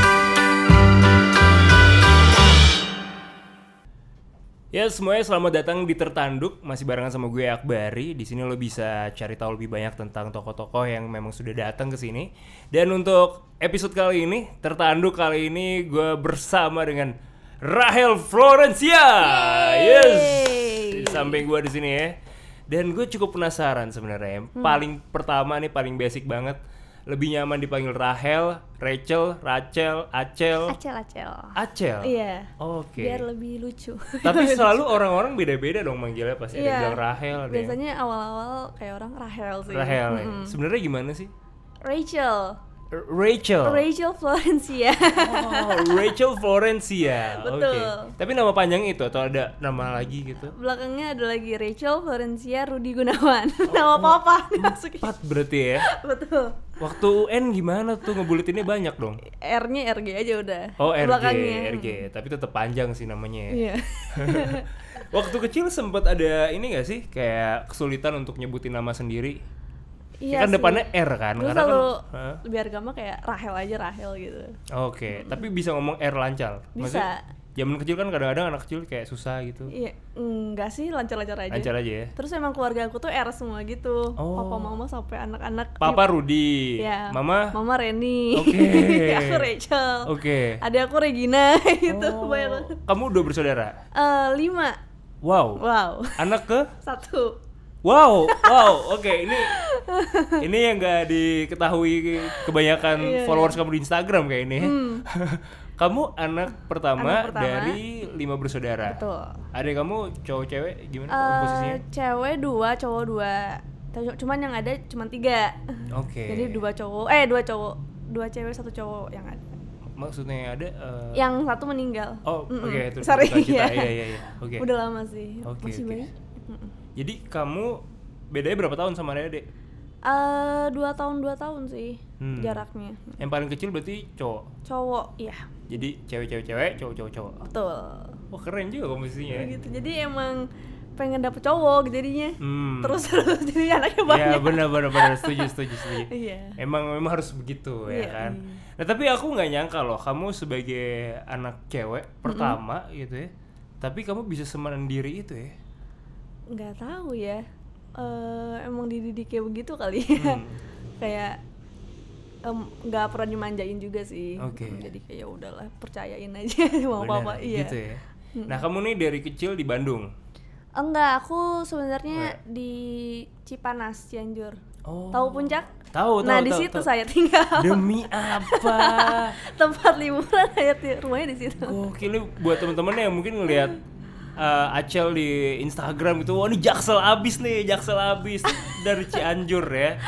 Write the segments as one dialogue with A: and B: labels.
A: Halo Ya, semuanya, selamat datang di Tertanduk. Masih barengan sama gue Akbari. Di sini lo bisa cari tahu lebih banyak tentang tokoh-tokoh yang memang sudah datang ke sini. Dan untuk episode kali ini, Tertanduk kali ini gue bersama dengan Rahel Florencia. Yes. Di samping gue di sini ya. Dan gue cukup penasaran sebenarnya.
B: Hmm.
A: Yang Paling pertama nih paling basic banget. Lebih nyaman dipanggil Rahel, Rachel, Rachel, Acel,
B: Acel acel.
A: Acel.
B: Iya.
A: Oke.
B: Biar lebih lucu.
A: Tapi selalu orang-orang beda-beda dong manggilnya pasti ada yang
B: Iya.
A: bilang Rahel ada yang
B: Biasanya awal-awal kayak orang Rahel sih.
A: Rahel. ya.
B: Mm-mm.
A: Sebenarnya gimana sih?
B: Rachel.
A: R- Rachel.
B: Rachel Florencia.
A: Oh, Rachel Florencia. Oke.
B: Betul.
A: Tapi nama panjang itu atau ada nama lagi gitu?
B: Belakangnya ada lagi Rachel Florencia Rudi Gunawan.
A: Oh.
B: Nama papa dimasukin.
A: Empat berarti ya.
B: Betul.
A: Waktu UN gimana tuh ngebuletinnya banyak dong.
B: R-nya RG aja udah.
A: Oh RG,
B: Belakangnya.
A: RG. Tapi tetap panjang sih namanya. ya.
B: Iya.
A: Waktu kecil sempat ada ini gak sih kayak kesulitan untuk nyebutin nama sendiri?
B: Iya
A: Ya kan
B: sih.
A: depannya R kan?
B: Gue
A: Karena kan-
B: selalu
A: Hah? Hmm.
B: biar gampang kayak Rahel aja Rahel gitu.
A: Oke, tapi bisa ngomong R lancar.
B: Bisa.
A: Zaman kecil kan kadang-kadang anak kecil kayak susah gitu.
B: Iya, enggak sih lancar-lancar aja.
A: Lancar aja ya.
B: Terus emang keluarga aku tuh R semua gitu.
A: Oh.
B: Papa, mama sampai anak-anak.
A: Papa Rudi,
B: Iya.
A: Mama.
B: Mama Reni.
A: Oke.
B: aku Rachel.
A: Oke.
B: Ada aku Regina gitu
A: Oh,
B: banyak banget.
A: Kamu udah bersaudara?
B: Eh, lima.
A: Wow.
B: Wow.
A: Anak ke?
B: Satu.
A: Wow, wow. Oke, ini ini yang gak diketahui kebanyakan
B: Iya, Hmm.
A: followers kamu di Instagram kayak ini. kamu anak pertama,
B: Anak pertama.
A: dari lima bersaudara.
B: Betul.
A: Adik kamu cowok cewek Eh. gimana
B: Eh,
A: posisinya?
B: cewek dua, cowok dua. Tapi Cuman yang ada cuman tiga.
A: Oke.
B: Jadi dua cowok, eh dua cowok, dua cewek satu cowok yang ada.
A: Maksudnya ada eh,
B: Yang satu meninggal.
A: Oh,
B: Mm-mm.
A: oke itu
B: Sorry.
A: kita.
B: iya.
A: Iya, iya, iya. Oke.
B: Udah lama sih.
A: Oke,
B: Masih
A: oke.
B: banyak. Mm-mm.
A: Jadi kamu bedanya berapa tahun sama Dede?
B: Eh, dua tahun dua tahun sih
A: Hmm.
B: jaraknya.
A: Yang paling kecil berarti cowok.
B: Cowok, iya
A: Jadi cewek-cewek-cewek, cowok-cowok-cowok.
B: betul.
A: Wah, keren juga komposisinya. ya.
B: gitu jadi emang pengen dapet cowok gitu jadinya
A: Hmm.
B: terus terus jadi anaknya
A: Ya,
B: banyak
A: benar benar benar setuju setuju setuju.
B: iya
A: Emang memang harus begitu ya
B: Iya,
A: kan. Nah, tapi aku nggak nyangka loh kamu sebagai anak cewek pertama gitu ya. Tapi kamu bisa semandiri itu ya.
B: nggak tahu ya Eh, emang dididiknya begitu kali ya
A: Hmm.
B: kayak em, nggak pernah dimanjain juga sih
A: Oke.
B: Em, jadi kayak ya udahlah percayain aja mau apa apa
A: Benar,
B: iya
A: Gitu ya. Nah, kamu nih dari kecil di Bandung.
B: enggak aku sebenarnya di Cipanas Cianjur
A: Oh.
B: tahu puncak
A: Tahu,
B: nah
A: tahu,
B: di
A: tahu,
B: situ
A: tahu.
B: saya tinggal
A: Demi apa?
B: tempat liburan saya ti- rumahnya di situ
A: Gokil nih buat temen-temen yang mungkin ngelihat eh, Acel di Instagram gitu, wah ini jaksel abis nih, jaksel abis dari Cianjur ya.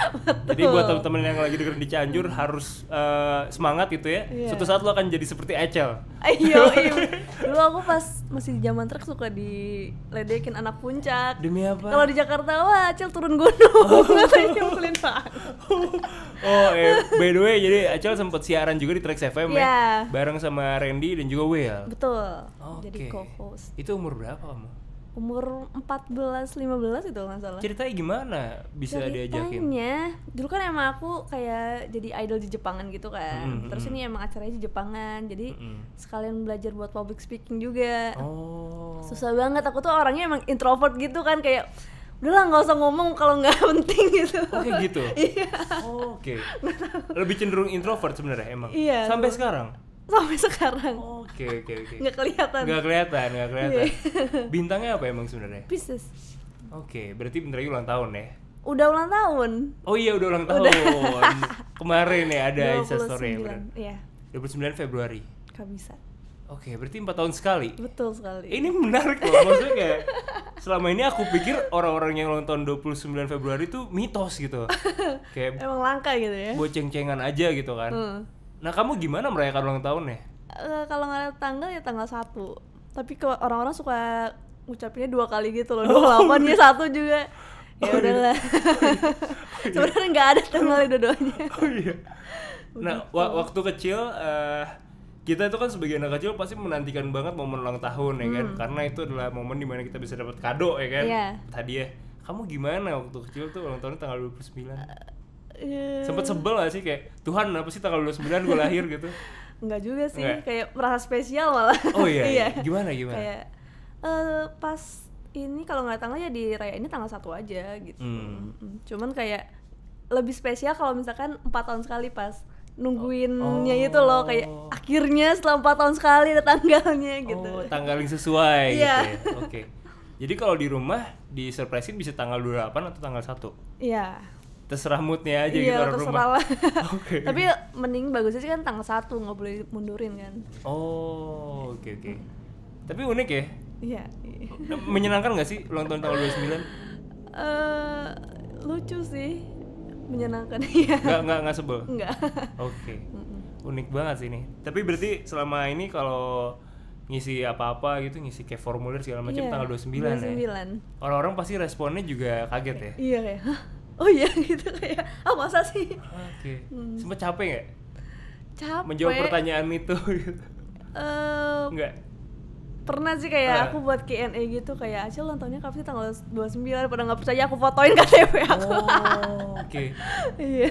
A: Jadi buat temen-temen yang lagi dengerin di Cianjur harus eh, semangat gitu ya.
B: Iya.
A: Suatu saat lo akan jadi seperti Acel.
B: Ayo, iyo. Dulu aku pas masih di zaman truk suka diledekin anak puncak.
A: Demi
B: Kalau
A: apa?
B: di Jakarta wah, Acil turun gunung. Katanya nyeselin banget.
A: Oh, eh, by the way, jadi Acel sempat siaran juga di Trax FM ya,
B: Iya.
A: bareng sama Randy dan juga Will.
B: Betul.
A: Oke.
B: Jadi co-host.
A: Itu umur berapa kamu?
B: Umur 14 15 itu nggak salah.
A: Ceritanya gimana bisa diajakin?
B: Ceritanya, dulu kan emang aku kayak jadi idol di Jepangan gitu kan.
A: Mm-mm,
B: Terus
A: mm-mm.
B: ini emang acaranya di Jepangan. Jadi
A: Mm-mm.
B: sekalian belajar buat public speaking juga.
A: Oh.
B: susah banget aku tuh orangnya emang introvert gitu kan kayak udahlah nggak usah ngomong kalau nggak penting gitu Iya.
A: Oke gitu. Oh, Oke. Lebih cenderung introvert sebenarnya emang.
B: Iya,
A: Sampai sekarang.
B: sampai sekarang
A: Oke oke oke.
B: nggak kelihatan Iya.
A: Nggak kelihatan, nggak kelihatan. Bintangnya apa emang sebenarnya?
B: Pisces
A: Oke, berarti bentar lagi ulang tahun ya.
B: udah ulang tahun
A: Oh iya udah ulang tahun. Kemarin ya ada Insta story ya. benar.
B: 29 iya
A: 29 Februari.
B: nggak bisa
A: Oke, berarti 4 tahun sekali. Eh,
B: betul sekali
A: Ini menarik loh, maksudnya kayak selama ini aku pikir orang-orang yang ulang tahun 29 Februari itu mitos gitu. Kayak
B: emang langka gitu ya
A: buat ceng-cengan aja gitu kan.
B: Hmm.
A: Nah, kamu gimana merayakan ulang ya? tahunnya?
B: Eh, kalau nggak ada tanggal ya tanggal satu tapi ke orang-orang suka ngucapinnya dua kali gitu
A: Oh,
B: loh dua delapan ya satu juga ya
A: iya.
B: udahlah sebenarnya nggak ada tanggalnya dua-duanya
A: Oh iya. Nah, wa- waktu kecil eh, kita itu kan sebagai anak kecil pasti menantikan banget momen ulang tahun ya kan. Karena itu adalah momen dimana kita bisa dapat kado ya kan.
B: Hmm. Iya.
A: Tadi ya. Kamu gimana waktu kecil tuh ulang tahunnya tanggal 29?
B: Eh,
A: Sempet sebel gak sih kayak Tuhan apa sih tanggal 29 gue lahir gitu.
B: Enggak juga sih,
A: Nggak? ya?
B: kayak merasa spesial malah.
A: Oh iya. iya. Gimana gimana?
B: kayak eh, pas ini kalau nggak tanggal ya di raya ini tanggal satu aja gitu.
A: Hmm.
B: Mm, Cuman kayak lebih spesial kalau misalkan empat tahun sekali pas nungguinnya
A: Oh.
B: itu loh kayak akhirnya setelah empat tahun sekali ada tanggalnya gitu.
A: Oh, tanggal yang sesuai
B: Iya.
A: gitu ya. Oke. Jadi kalau di rumah di surprisein bisa tanggal 28 atau tanggal 1.
B: Iya.
A: Terserah moodnya aja gitu
B: Iya
A: orang rumah.
B: terserah lah.
A: Oke.
B: Tapi mending bagusnya sih kan tanggal satu nggak boleh mundurin kan.
A: Oh, oke oke. Tapi unik ya.
B: Iya.
A: Menyenangkan gak sih ulang tahun tanggal 29?
B: Eh lucu sih, menyenangkan iya.
A: Nggak nggak nggak sebel. Oke.
B: Enggak.
A: Unik banget sih ini. Tapi berarti selama ini kalau ngisi apa-apa gitu, ngisi kayak formulir segala
B: Iya.
A: macam tanggal 29, ya.
B: 29.
A: Orang-orang pasti responnya juga kaget ya.
B: Iya kayak, Hah? oh iya gitu kayak, ah masa sih?
A: Oke. Sempet capek nggak
B: Hmm. Capek.
A: menjawab pertanyaan itu? gitu?
B: Eh,
A: Enggak.
B: pernah sih
A: Ah.
B: kayak aku buat Q&A gitu kayak Acil ulang tahunnya kapan sih tanggal 29 pada nggak percaya aku fotoin KTP aku.
A: Oh, oke.
B: Iya.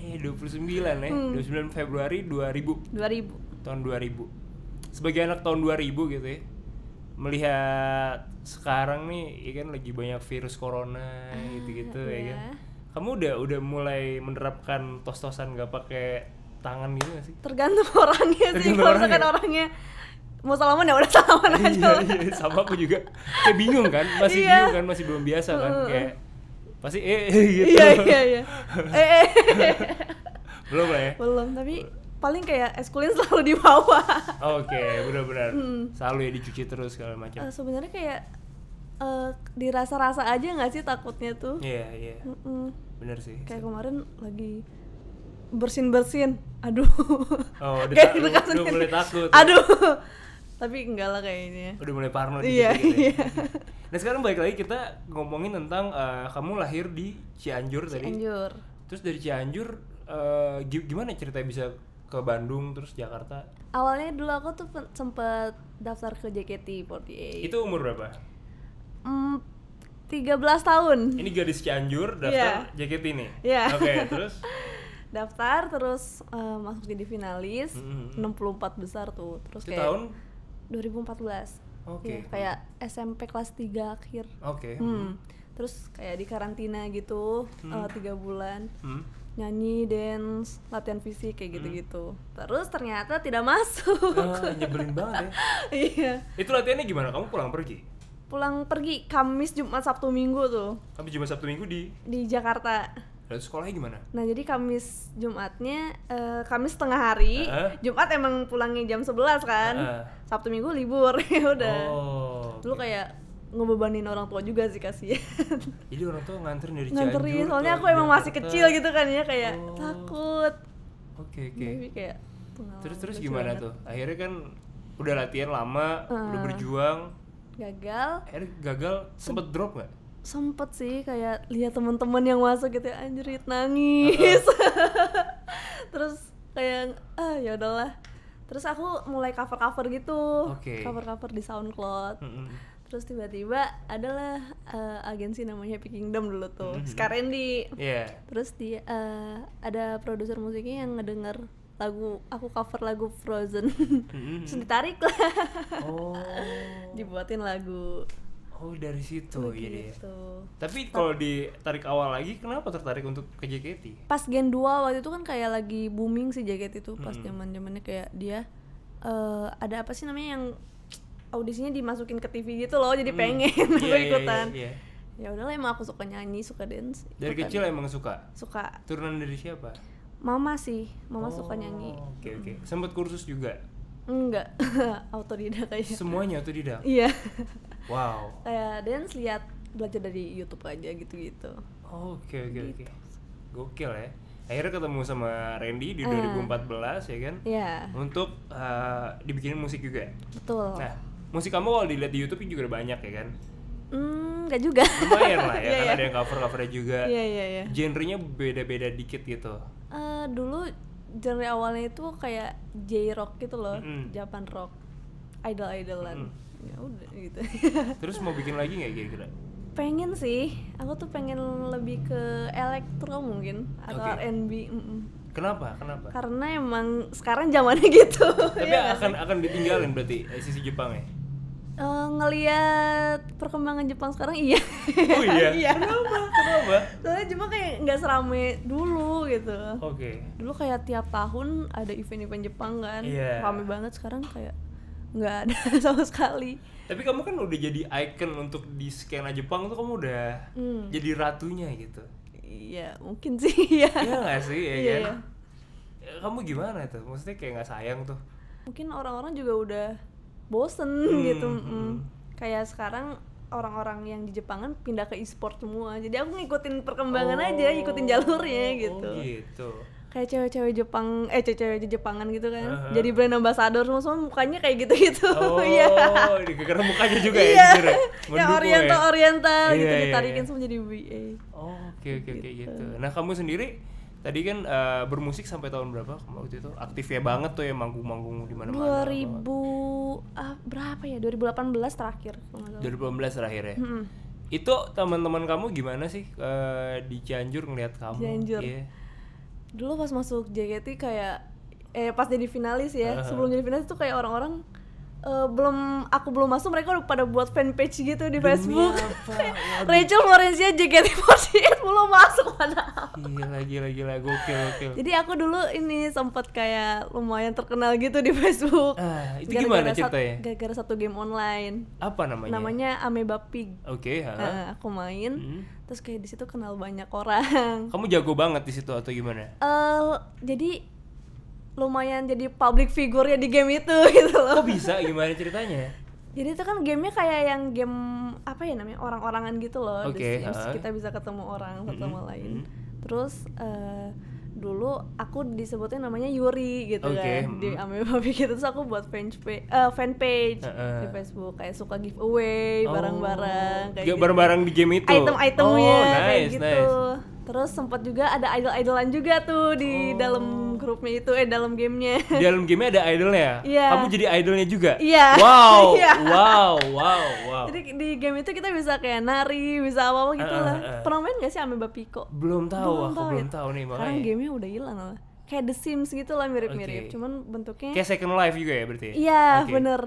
A: Eh, 29 ya.
B: Hmm.
A: 29 Februari 2000,
B: 2000.
A: tahun 2000. Sebagai anak tahun 2000 gitu ya. Melihat sekarang nih, ya kan lagi banyak virus corona gitu-gitu ya kan.
B: Ah, iya.
A: Kamu udah udah mulai menerapkan tos-tosan nggak pakai tangan gitu gak sih?
B: Tergantung orangnya sih.
A: Tergantung
B: Kalau misalkan
A: orangnya.
B: orangnya mau salaman ya udah salaman aja.
A: iya, iya, sama aku juga kayak bingung kan, masih
B: Iya.
A: bingung kan, masih belum biasa kan, kayak pasti eh, eh, gitu.
B: Iya iya iya. Eh, eh,
A: belum lah ya.
B: belum tapi paling kayak eskulin selalu di bawah.
A: Oke, benar-benar.
B: Mm.
A: Selalu ya dicuci terus segala macam.
B: Eh, sebenarnya kayak eh, dirasa-rasa aja nggak sih takutnya tuh
A: Iya, iya.
B: Mm-mm.
A: Benar sih.
B: kayak kemarin lagi bersin bersin aduh
A: Oh, udah
B: Kayak
A: tak-
B: deg-degan
A: udah- udah
B: sendiri.
A: mulai takut.
B: aduh tapi enggak lah kayaknya
A: Udah mulai parno dikit
B: Iya,
A: ya. Nah, sekarang balik lagi kita ngomongin tentang eh, kamu lahir di Cianjur, tadi.
B: anjur
A: Terus dari Cianjur eh, gi- gimana ceritanya bisa ke Bandung terus Jakarta?
B: awalnya dulu aku tuh pen- sempet daftar ke JKT48
A: Itu umur berapa?
B: Mm, 13 tahun
A: Ini gadis Cianjur daftar JKT nih.
B: Iya.
A: Oke, terus
B: daftar terus eh, masuk jadi finalis
A: Mm-mm.
B: 64 besar tuh terus
A: Mm-hmm. itu
B: kayak
A: tahun
B: 2014
A: Oke.
B: Iya, kayak SMP kelas 3 akhir
A: Oke.
B: Hmm. Terus kayak di karantina gitu eh, tiga bulan
A: Hmm.
B: nyanyi, dance, latihan fisik kayak gitu-gitu. Terus ternyata tidak masuk.
A: Ah, nyebelin banget ya.
B: Iya.
A: Itu latihannya gimana? Kamu pulang pergi?
B: Pulang pergi Kamis, Jumat, Sabtu, Minggu tuh
A: Kamu cuma Sabtu Minggu di
B: di Jakarta.
A: Lalu sekolahnya gimana?
B: Nah jadi Kamis Jumatnya eh, Kamis tengah hari,
A: Heeh.
B: Jumat emang pulangnya jam 11 kan,
A: Heeh.
B: Sabtu Minggu libur ya udah.
A: Oh.
B: Dulu
A: oke.
B: kayak ngebebanin orang tua juga sih kasihan.
A: Jadi orang tua nganterin dari Cianjur.
B: nganterin
A: ke
B: soalnya aku emang masih
A: Jakarta.
B: kecil gitu kan ya kayak
A: Oh.
B: takut
A: Oke, oke.
B: tapi kayak pengalaman
A: Terus terus
B: lucu
A: gimana
B: banget.
A: tuh? Akhirnya kan udah latihan lama, udah
B: Ah.
A: berjuang,
B: gagal
A: akhirnya gagal, sempet drop nggak?
B: sempet sih kayak lihat teman-teman yang masuk gitu anjrit nangis terus kayak ah ya udahlah terus aku mulai cover cover gitu
A: Oke.
B: cover cover di SoundCloud
A: Mm-mm.
B: terus tiba-tiba adalah eh, agensi namanya Happy Kingdom dulu tuh
A: Mhm.
B: sekarang di
A: Iya.
B: Terus di eh, ada produser musiknya yang ngedenger lagu aku cover lagu Frozen.
A: Mm-mm.
B: Terus ditarik lah,
A: Oh.
B: dibuatin lagu
A: Oh dari situ jadi. ya.
B: gitu.
A: Tapi kalau ditarik awal lagi, kenapa tertarik untuk ke JKT?
B: Pas Gen 2 waktu itu kan kayak lagi booming sih jaket itu pas zaman-zamannya kayak dia eh, ada apa sih namanya yang audisinya dimasukin ke TV gitu loh, jadi pengen
A: Iya,
B: aku
A: iya, iya,
B: ikutan.
A: iya.
B: Ya udahlah emang aku suka nyanyi, suka dance.
A: Dari
B: ikutan.
A: kecil emang suka.
B: suka
A: Turunan dari siapa?
B: mama sih, mama suka nyanyi.
A: Oh, Oke oke. Sempet kursus juga.
B: Enggak, autodidak aja.
A: Semuanya tidak.
B: Iya.
A: Wow.
B: kayak dance lihat belajar dari YouTube aja gitu-gitu.
A: Oke oke oke.
B: Gitu.
A: Gokil ya. Akhirnya ketemu sama Randy di
B: Hmm.
A: 2014 ya kan.
B: Ya,
A: Untuk eh, dibikinin musik juga.
B: betul.
A: Nah, musik kamu kalau dilihat di YouTube juga udah banyak ya kan.
B: Hmm, enggak juga.
A: Lumayan lah ya,
B: Iya,
A: kan
B: iya.
A: ada yang cover-covernya juga.
B: Iya, iya, iya.
A: Genrenya beda-beda dikit gitu.
B: Eh, dulu genre awalnya itu kayak J-rock gitu loh,
A: Mm-mm.
B: Japan rock, idol-idolan. Ya udah gitu.
A: Terus mau bikin lagi nggak kira-kira?
B: pengen sih, aku tuh pengen lebih ke elektro mungkin atau
A: Oke.
B: R&B. mm-mm.
A: Kenapa? Kenapa?
B: Karena emang sekarang zamannya gitu.
A: Tapi
B: Iya nggak
A: akan akan ditinggalin berarti eh, sisi Jepang ya.
B: Eh, ngelihat perkembangan Jepang sekarang iya.
A: Oh iya.
B: Iya.
A: Kenapa? Kenapa?
B: Soalnya Jepang kayak nggak serame dulu gitu.
A: Oke.
B: Dulu kayak tiap tahun ada event-event Jepang kan,
A: Iya.
B: rame banget sekarang kayak nggak ada sama sekali.
A: Tapi kamu kan udah jadi icon untuk di skena Jepang tuh kamu udah
B: Hmm.
A: jadi ratunya gitu.
B: Iya, mungkin sih ya.
A: Iya gak sih? Iya
B: Iya,
A: kan? Ya, Kamu gimana tuh? Maksudnya kayak gak sayang tuh
B: Mungkin orang-orang juga udah bosen gitu.
A: Hmm,
B: mm.
A: hmm.
B: Kayak sekarang orang-orang yang di Jepang kan pindah ke e-sport semua. Jadi aku ngikutin perkembangan aja, ngikutin jalurnya
A: Oh,
B: gitu.
A: gitu
B: Kayak cewek-cewek Jepang, eh cewek-cewek Jepangan gitu kan.
A: Aha.
B: Jadi brand ambassador semua, semua mukanya kayak gitu-gitu.
A: Oh,
B: Iya.
A: di- karena mukanya juga ya
B: Iya.
A: jujur ya?
B: Yang
A: Mendukung ya?
B: oriental oriental
A: Iya,
B: gitu
A: iya,
B: ditarikin
A: iya.
B: semua jadi eh. BA.
A: Oh, oke oke oke
B: Gitu.
A: gitu. Nah, kamu sendiri tadi kan eh, bermusik sampai tahun berapa? Kamu waktu itu aktifnya banget tuh ya manggung-manggung di mana-mana.
B: 2000 ah, berapa ya? 2018 terakhir kalau nggak salah.
A: 2018 terakhir ya.
B: Mm-mm.
A: Itu teman-teman kamu gimana sih eh, di Cianjur ngelihat kamu?
B: Cianjur.
A: Iya.
B: dulu pas masuk JKT kayak eh pas jadi finalis ya
A: Aha.
B: sebelum jadi finalis tuh kayak orang-orang eh, belum aku belum masuk mereka udah pada buat fanpage gitu
A: Demi
B: di Facebook
A: apa? Waduh.
B: Rachel Florencia JKT48 belum masuk mana
A: Gila gila gila gokil gokil.
B: jadi aku dulu ini sempat kayak lumayan terkenal gitu di Facebook
A: Ah, itu
B: Gara-gara
A: gimana
B: sat-
A: ceritanya?
B: gara-gara satu game online
A: Apa namanya?
B: namanya Ameba Pig
A: Oke, ha.
B: Eh, aku main
A: Hmm.
B: terus kayak di situ kenal banyak orang
A: Kamu jago banget di situ atau gimana?
B: eh jadi lumayan jadi public figure ya di game itu gitu loh.
A: Kok bisa? Gimana ceritanya?
B: Jadi itu kan gamenya kayak yang game apa ya namanya orang-orangan gitu loh.
A: Oke,
B: Di Sims
A: ha.
B: kita bisa ketemu orang satu sama
A: Mm-mm,
B: lain.
A: mm.
B: Terus eh, dulu aku disebutnya namanya Yuri gitu
A: Oke,
B: kan di
A: mm.
B: Ameba gitu terus aku buat fanpage eh, fanpage
A: Heeh.
B: di Facebook kayak suka giveaway
A: Oh,
B: barang-barang kayak
A: gak
B: gitu.
A: barang-barang di game itu.
B: item-itemnya
A: oh,
B: kayak
A: nice,
B: gitu.
A: nice.
B: Terus sempat juga ada idol-idolan juga tuh di
A: Oh.
B: dalam grupnya itu eh dalam gamenya.
A: Di dalam gamenya ada idolnya. ya?
B: Iya.
A: Kamu jadi idolnya juga.
B: Iya.
A: Wow,
B: Iya.
A: wow, wow, wow.
B: Jadi di game itu kita bisa kayak nari, bisa apa-apa gitu
A: Eh, eh,
B: lah.
A: eh, eh.
B: Pernah main gak sih Ameba Pico?
A: belum tahu, aku
B: tahu
A: belum
B: ya.
A: tahu nih
B: Sekarang
A: makanya.
B: gamenya udah hilang lah. Kayak The Sims gitu lah mirip-mirip,
A: Oke.
B: cuman bentuknya
A: Kayak Second Life juga ya berarti?
B: Iya,
A: Oke.
B: bener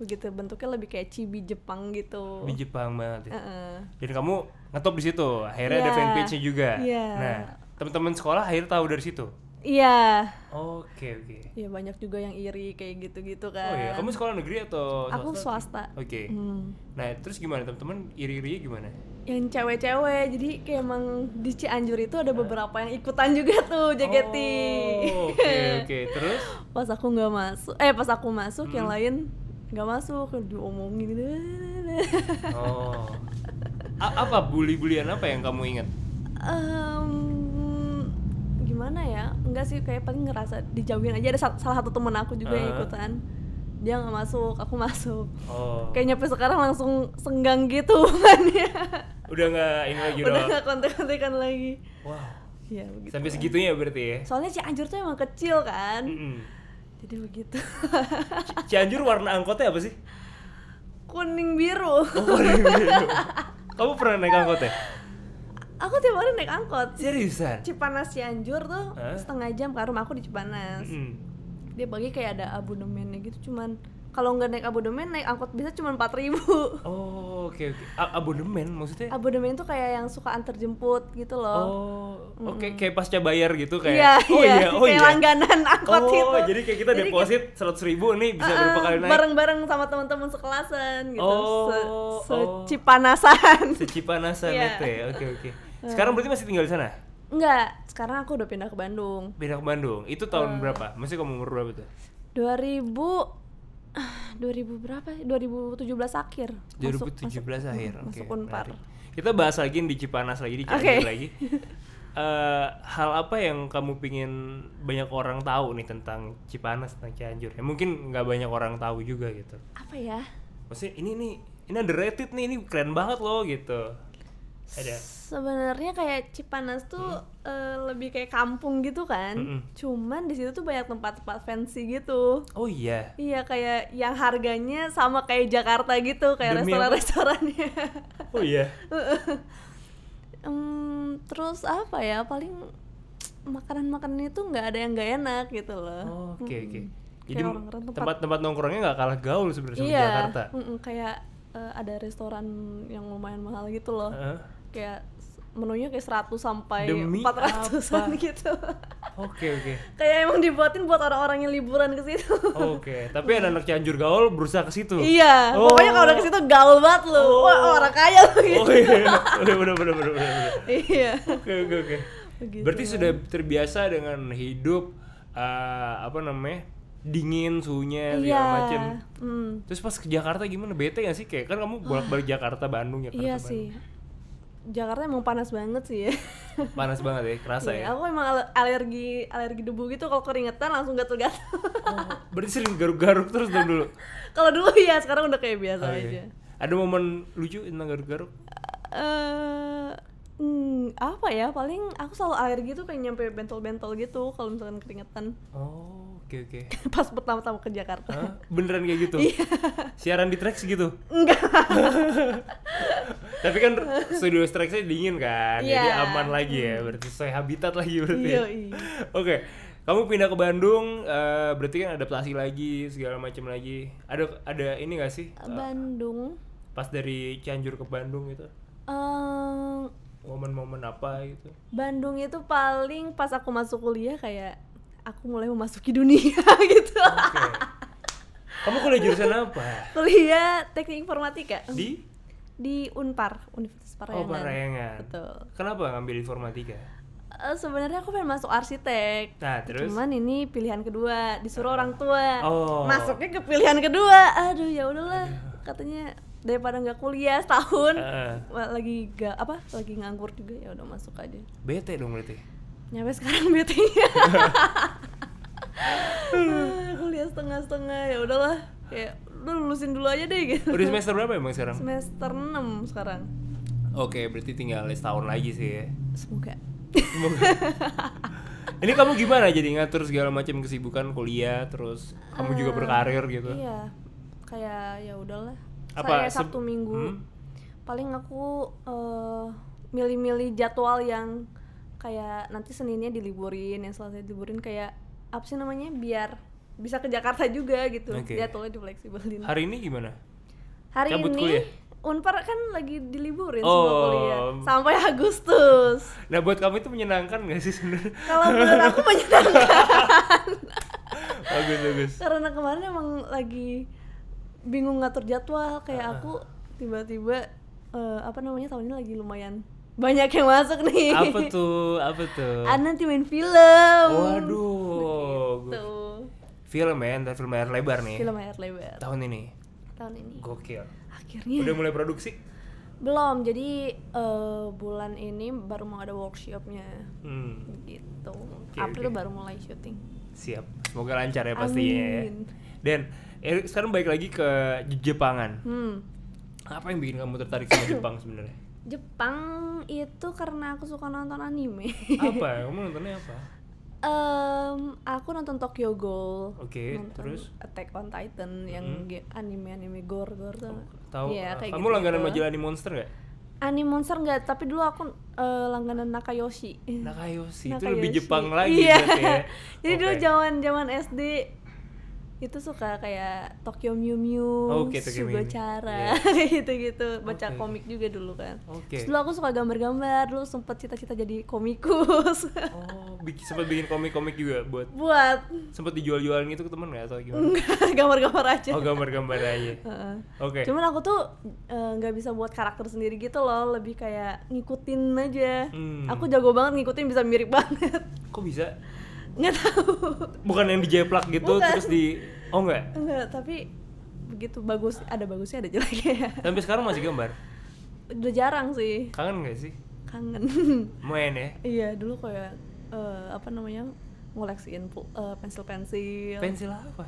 B: Begitu bentuknya lebih kayak chibi Jepang gitu.
A: Di Jepang banget ya.
B: Heeh.
A: Dan kamu ngetop di situ. Akhirnya ada
B: Iya.
A: fanpage-nya juga.
B: Iya.
A: Nah, teman-teman sekolah akhirnya tahu dari situ.
B: Iya.
A: Oke, oke.
B: Iya banyak juga yang iri kayak gitu-gitu
A: Oh
B: kan.
A: iya, kamu sekolah negeri atau
B: Aku
A: swasta?
B: swasta.
A: Oke.
B: Hmm.
A: Nah, terus gimana teman-teman? Iri-irinya gimana?
B: yang cewek-cewek jadi kayak emang di Cianjur itu ada beberapa yang ikutan juga tuh JKT
A: Oh, Oke, oke. Terus
B: pas aku nggak masuk eh pas aku masuk yang
A: Hmm.
B: lain nggak masuk diomongin gitu
A: Oh. A- apa bully-bulian apa yang kamu ingat?
B: Em, gimana ya enggak sih kayak paling ngerasa dijauhin aja ada sa- salah satu temen aku juga yang
A: Ah.
B: ikutan dia nggak masuk aku masuk
A: Oh.
B: kayak nyampe sekarang langsung senggang gitu kan ya
A: Udah nggak ini lagi
B: udah
A: udah.
B: nggak kontak-kontakan lagi
A: Wow.
B: ya begitu
A: Sampai segitunya berarti ya.
B: soalnya Cianjur tuh emang kecil kan
A: Mm-mm.
B: Jadi begitu.
A: C- Cianjur warna angkotnya apa sih?
B: Kuning
A: Oh,
B: biru.
A: warna biru. Kamu pernah naik angkotnya?
B: Aku tiap hari naik angkot.
A: Seriusan?
B: Cipanas Cianjur tuh
A: Hah?
B: setengah jam ke rumah aku di Cipanas.
A: Mm.
B: Dia pagi kayak ada abonemennya gitu cuman kalau nggak naik abonemen naik angkot bisa cuma 4000.
A: Oh, oke oke. A- Abonemen maksudnya?
B: abonemen tuh kayak yang suka antar jemput gitu loh.
A: Oh, oke kayak pasca bayar gitu kayak.
B: Iya,
A: oh
B: iya,
A: iya, oh
B: kayak
A: iya.
B: langganan angkot gitu.
A: oh,
B: itu.
A: jadi kayak kita deposit seratus ribu nih bisa
B: eh,
A: berapa kali naik?
B: bareng-bareng sama teman-teman sekelasan gitu. Se-
A: Oh, oh.
B: secipanasan.
A: Secipanasan
B: Iya.
A: itu ya, oke oke. Sekarang berarti masih tinggal di sana?
B: Enggak, sekarang aku udah pindah ke Bandung.
A: Pindah ke Bandung, itu tahun berapa? Masih kamu umur berapa tuh?
B: 2000 ah, 2000 berapa? ya? 2017 akhir. Masuk- Mm,
A: 2017 akhir, oke.
B: masuk Unpar.
A: menarik. Kita bahas lagi di Cipanas lagi, di Cianjur
B: Oke.
A: lagi. Eh, hal apa yang kamu pingin banyak orang tahu nih tentang Cipanas, tentang Cianjur? Ya, mungkin nggak banyak orang tahu juga gitu.
B: apa ya?
A: Maksudnya ini nih, ini underrated nih, ini keren banget loh gitu. Ada. Hmm.
B: Sebenarnya kayak Cipanas tuh eh, lebih kayak kampung gitu kan.
A: Mm-mm.
B: Cuman di situ tuh banyak tempat-tempat fancy gitu.
A: Oh iya.
B: Iya kayak yang harganya sama kayak Jakarta gitu, kayak
A: Demi apa?
B: restoran-restorannya.
A: Oh iya.
B: Em, terus apa ya? Paling makanan-makanan itu nggak ada yang nggak enak gitu loh.
A: Oh, Oke oke. Jadi
B: Kayak orang-orang tempat-
A: tempat-tempat nongkrongnya nggak kalah gaul sebenarnya sama
B: iya
A: Jakarta.
B: mm-mm, kayak eh, ada restoran yang lumayan mahal gitu loh
A: Heeh.
B: kayak s- menunya kayak 100 sampai
A: Eh. Demi
B: 400-an gitu
A: Oke oke
B: kayak emang dibuatin buat orang-orang yang liburan ke situ
A: oke. Tapi anak-anak Cianjur gaul berusaha ke situ.
B: iya
A: Oh.
B: pokoknya kalau udah ke situ gaul banget lo
A: Oh.
B: wah orang kaya lo gitu
A: Oh iya. Udah udah udah udah udah. udah.
B: iya
A: Oke oke oke.
B: Begitu.
A: Berarti sudah terbiasa dengan hidup eh, apa namanya dingin suhunya
B: Iya.
A: segala macem.
B: mm.
A: Terus pas ke Jakarta gimana? Bete gak sih? Kayak kan kamu bolak-balik Jakarta Bandung ya, Jakarta
B: iya
A: Bandung.
B: sih Jakarta emang panas banget sih ya.
A: Panas banget ya, kerasa
B: Iya,
A: ya.
B: aku emang ale- alergi alergi debu gitu kalau keringetan langsung gatel-gatel.
A: Oh, berarti sering garuk-garuk terus dong dulu.
B: Kalau dulu ya, sekarang udah kayak biasa
A: Oke.
B: aja. Iya.
A: Ada momen lucu tentang garuk-garuk?
B: eh hmm, apa ya? Paling aku selalu alergi tuh kayak nyampe bentol-bentol gitu kalau misalkan keringetan
A: Oh, oke oke.
B: pas pertama-tama ke Jakarta.
A: Hah? Beneran kayak gitu?
B: Iya.
A: Siaran di Trax gitu? Tapi kan studio Traxnya dingin kan, jadi
B: Iya.
A: aman lagi ya. Berarti sesuai habitat lagi berarti. ya.
B: Yoi.
A: Oke, kamu pindah ke Bandung, eh, berarti kan adaptasi lagi segala macam lagi. Ada ada ini gak sih?
B: Bandung.
A: Pas dari Cianjur ke Bandung gitu,
B: eh
A: momen-momen apa gitu?
B: Bandung itu paling pas aku masuk kuliah kayak aku mulai memasuki dunia gitu.
A: Oke. kamu kuliah jurusan apa?
B: kuliah Teknik Informatika
A: Di?
B: di Unpar, Universitas Parayangan.
A: Oh, Parayangan.
B: Betul.
A: Kenapa ngambil informatika?
B: Eh, sebenarnya aku pengen masuk arsitek.
A: Nah, terus?
B: Cuman ini pilihan kedua, disuruh orang tua.
A: Oh.
B: Masuknya kan ke pilihan kedua. Aduh, ya udahlah. Katanya daripada nggak kuliah setahun,
A: Eh,
B: wah, lagi gak apa? Lagi nganggur juga ya udah masuk aja.
A: bete dong berarti.
B: Nyampe sekarang betenya. Ah, kuliah setengah-setengah ya udahlah. Kayak lu lulusin dulu aja deh gitu.
A: Udah semester berapa emang sekarang?
B: Semester 6 sekarang.
A: Oke, berarti tinggal setahun lagi sih ya.
B: Semoga.
A: Semoga. Ini kamu gimana jadi ngatur segala macam kesibukan kuliah terus kamu juga berkarir gitu?
B: Eh, Iya. Kayak ya udahlah.
A: Apa,
B: Saya Sabtu
A: seb-
B: Minggu.
A: Hmm?
B: Paling aku eh, milih-milih jadwal yang kayak nanti Seninnya diliburin, yang Selasa diliburin kayak apa sih namanya? Biar bisa ke Jakarta juga gitu.
A: Oke.
B: Jadwalnya difleksibelin.
A: Hari ini gimana?
B: Hari
A: cabut
B: ini
A: kuliah?
B: Unpar kan lagi diliburin semua
A: Oh.
B: kuliah sampai Agustus.
A: Nah buat kamu itu menyenangkan gak sih sebenarnya?
B: Kalau menurut aku menyenangkan
A: bagus bagus.
B: karena kemarin emang lagi bingung ngatur jadwal kayak
A: Ah.
B: aku tiba-tiba eh, apa namanya tahun ini lagi lumayan banyak yang masuk nih
A: Apa tuh? Apa tuh?
B: Ah, nanti main film
A: Waduh. gua-
B: tuh
A: Film ya, ntar film layar lebar nih.
B: Gitu. film air lebar
A: Tahun ini.
B: tahun ini
A: Gokil.
B: akhirnya
A: Udah mulai produksi?
B: belum jadi eh, bulan ini baru mau ada workshopnya
A: Hmm.
B: gitu
A: Oke,
B: April
A: oke.
B: baru mulai syuting
A: Siap. Semoga lancar ya pastinya ya.
B: Amin.
A: Dan eh, sekarang balik lagi ke Je- Jepangan.
B: hmm
A: Apa yang bikin kamu tertarik sama Jepang sebenarnya?
B: Jepang itu karena aku suka nonton anime
A: Apa? Kamu nontonnya apa?
B: Em, aku nonton Tokyo Ghoul.
A: Oke,
B: Nonton
A: terus? Hmm.
B: Attack on Titan yang ge- anime-anime gore-gore tuh.
A: Tahu? eh,
B: Iya, kayak
A: kamu
B: gitu-gitu.
A: langganan majalah Anime Monster nggak?
B: Anime Monster enggak, tapi dulu aku eh, langganan Nakayoshi.
A: Nakayoshi, itu
B: Nakayoshi.
A: lebih Jepang lagi
B: Nah, Iya.
A: berarti ya.
B: Jadi dulu
A: Oke.
B: zaman-zaman SD itu suka kayak Tokyo Mew Mew,
A: Oh, Oke, Tokyo Mew Mew.
B: Sugochara, gitu-gitu. Baca
A: Oke.
B: komik juga dulu kan.
A: Oke.
B: Terus dulu aku suka gambar-gambar, dulu sempet cita-cita jadi komikus.
A: Oh, bikin sempat bikin komik-komik juga buat
B: Buat
A: sempat dijual-jualan gitu ke teman nggak atau gimana?
B: gambar-gambar aja.
A: Oh, gambar-gambar aja.
B: Heeh.
A: Oke.
B: Cuman aku tuh eh, nggak bisa buat karakter sendiri gitu loh, lebih kayak ngikutin aja.
A: Hmm.
B: Aku jago banget ngikutin bisa mirip banget.
A: Kok bisa?
B: Nggak tahu.
A: Bukan yang dijeplak gitu
B: Bukan.
A: terus di Oh enggak.
B: Nggak, tapi begitu bagus, ada bagusnya ada jeleknya.
A: Sampai sekarang masih gambar.
B: Udah jarang sih,
A: Kangen nggak sih?
B: kangen.
A: Main ya?
B: iya, dulu kayak eh, apa namanya? ngoleksiin pul- eh, pensil-pensil.
A: Pensil apa?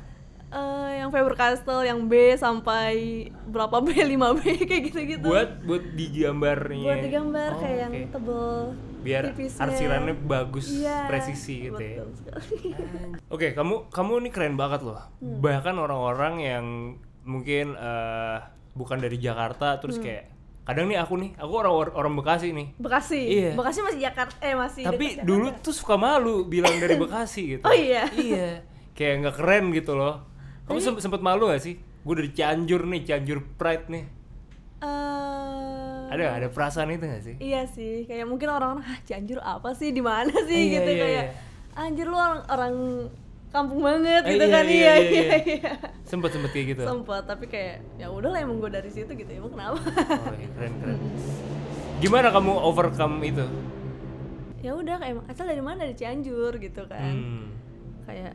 B: Eh, yang Faber Castell yang B sampai berapa B, 5 B kayak gitu-gitu.
A: Buat buat digambarnya.
B: buat digambar
A: Oh,
B: kayak yang
A: oke.
B: tebel
A: biar
B: tipisnya.
A: arsirannya bagus
B: Iya,
A: presisi gitu ya.
B: betul sekali.
A: Oke, kamu kamu ini keren banget loh.
B: Hmm.
A: Bahkan orang-orang yang mungkin eh, bukan dari Jakarta terus
B: Hmm.
A: kayak kadang nih aku nih, aku orang orang Bekasi nih.
B: Bekasi
A: Iya.
B: Bekasi masih Jakarta eh masih
A: Tapi
B: dekat Jakarta.
A: dulu tuh suka malu bilang dari Bekasi gitu.
B: Oh iya.
A: Iya. kayak nggak keren gitu loh kamu
B: Tapi-
A: semp- sempet malu gak sih gue dari Cianjur nih Cianjur Pride nih
B: Eh,
A: ada nggak? ada perasaan itu gak sih
B: Iya sih, kayak mungkin orang-orang ah Cianjur apa sih di mana sih
A: Iya,
B: gitu
A: iya, iya.
B: kayak anjir lu orang, orang kampung banget
A: Eh,
B: gitu
A: iya,
B: kan
A: iya, iya,
B: iya iya
A: iya.
B: iya.
A: sempet sempet kayak gitu
B: Sempet tapi kayak ya udahlah emang gue dari situ gitu emang kenapa?
A: oh, iya, keren keren gimana kamu overcome itu
B: ya udah kayak emang asal dari mana dari Cianjur gitu kan.
A: hmm.
B: Kayak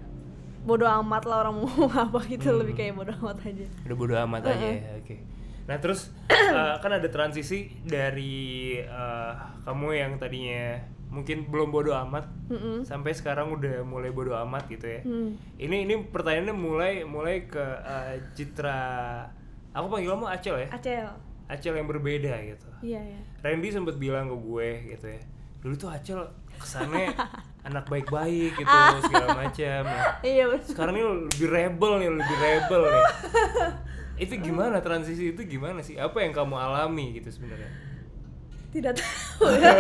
B: bodo amat lah orang mau apa gitu
A: Hmm. Iya.
B: lebih kayak bodo amat aja.
A: udah bodo amat aja ya oke nah terus eh, kan ada transisi dari eh, kamu yang tadinya mungkin belum bodo amat
B: Mm-mm.
A: sampai sekarang udah mulai bodo amat gitu ya
B: Hmm.
A: ini ini pertanyaannya mulai mulai ke eh, citra aku panggil kamu Acel ya
B: Acel.
A: Acel yang berbeda gitu
B: Iya ya.
A: Randy sempat bilang ke gue gitu ya dulu tuh Acel kesannya anak baik-baik gitu segala macam ya.
B: Iya bener.
A: sekarang ini lebih rebel nih lebih rebel nih itu gimana transisi itu gimana sih apa yang kamu alami gitu sebenarnya
B: tidak tahu ya.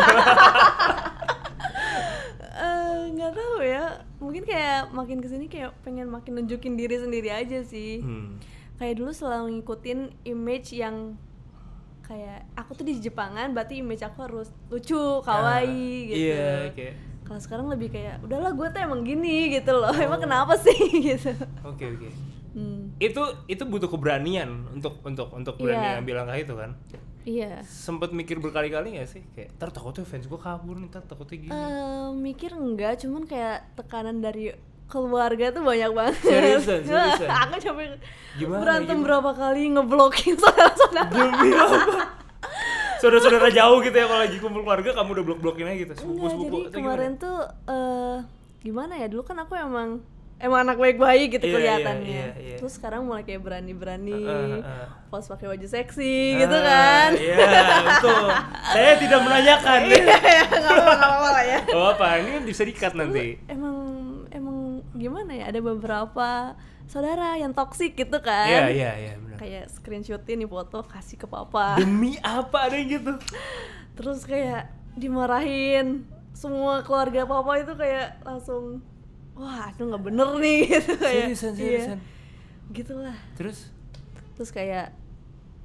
B: Eh, nggak tahu ya mungkin kayak makin kesini kayak pengen makin nunjukin diri sendiri aja sih
A: hmm.
B: kayak dulu selalu ngikutin image yang kayak aku tuh di Jepangan berarti image aku harus lucu kawaii
A: Ah,
B: gitu
A: iya kayak
B: kalau sekarang lebih kayak udahlah gue tuh emang gini gitu
A: Oh.
B: loh emang kenapa sih gitu
A: oke oke
B: Hmm,
A: itu itu butuh keberanian untuk untuk untuk berani
B: Iya.
A: bilang kayak itu kan
B: iya
A: sempet mikir berkali-kali gak sih kayak ntar takutnya fans gue kabur nih ntar takutnya gini
B: Eh, mikir enggak, cuman kayak tekanan dari keluarga tuh banyak banget.
A: Seriusan, seriusan.
B: Aku coba
A: Gimana,
B: berantem
A: gimana?
B: berapa kali ngeblokin saudara-saudara.
A: demi apa saudara-saudara jauh gitu ya kalau lagi kumpul keluarga kamu udah blok-blokin aja gitu
B: Enggak, Iya, jadi
A: sepupu-sepupu atau gimana?
B: kemarin tuh eh gimana ya? Dulu kan aku emang emang anak baik-baik gitu
A: Iya,
B: kelihatannya.
A: iya, iya, iya.
B: Terus sekarang mulai kayak berani-berani,
A: Heeh, heeh.
B: pos pakai baju seksi gitu
A: Ah,
B: kan.
A: iya betul saya tidak menanyakan
B: Iya, enggak apa-apa lah ya.
A: oh apa ini kan bisa dikat nanti
B: emang emang gimana ya ada beberapa saudara yang toksik gitu kan
A: iya iya iya benar
B: kayak screenshotin nih foto kasih ke papa
A: demi apa ada yang gitu
B: terus kayak dimarahin semua keluarga papa itu kayak langsung wah itu nggak bener nih gitu kayak
A: seriusan
B: iya.
A: seriusan
B: gitulah
A: terus
B: terus kayak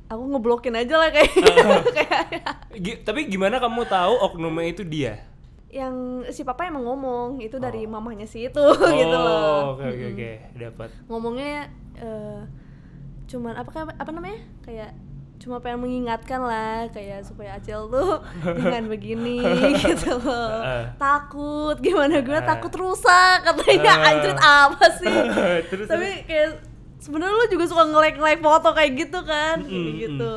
B: aku ngeblokin aja lah kayak
A: Ah.
B: kayak
A: gi- tapi gimana kamu tahu oknumnya itu dia
B: yang si papa emang ngomong itu dari
A: Oh.
B: mamahnya si itu gitu
A: oh
B: loh
A: oke oke oke dapat
B: ngomongnya eh, cuman apa kayak- apa namanya kayak cuma pengen mengingatkan lah kayak supaya Acel tuh dengan begini gitu loh
A: Heeh.
B: takut gimana gue
A: Heeh.
B: takut rusak katanya
A: Heeh.
B: anjrit apa sih
A: Terus,
B: tapi kayak sebenarnya lu juga suka nge-like nge-like foto kayak gitu kan
A: Mm-mm,
B: Kayak
A: mm-mm.
B: gitu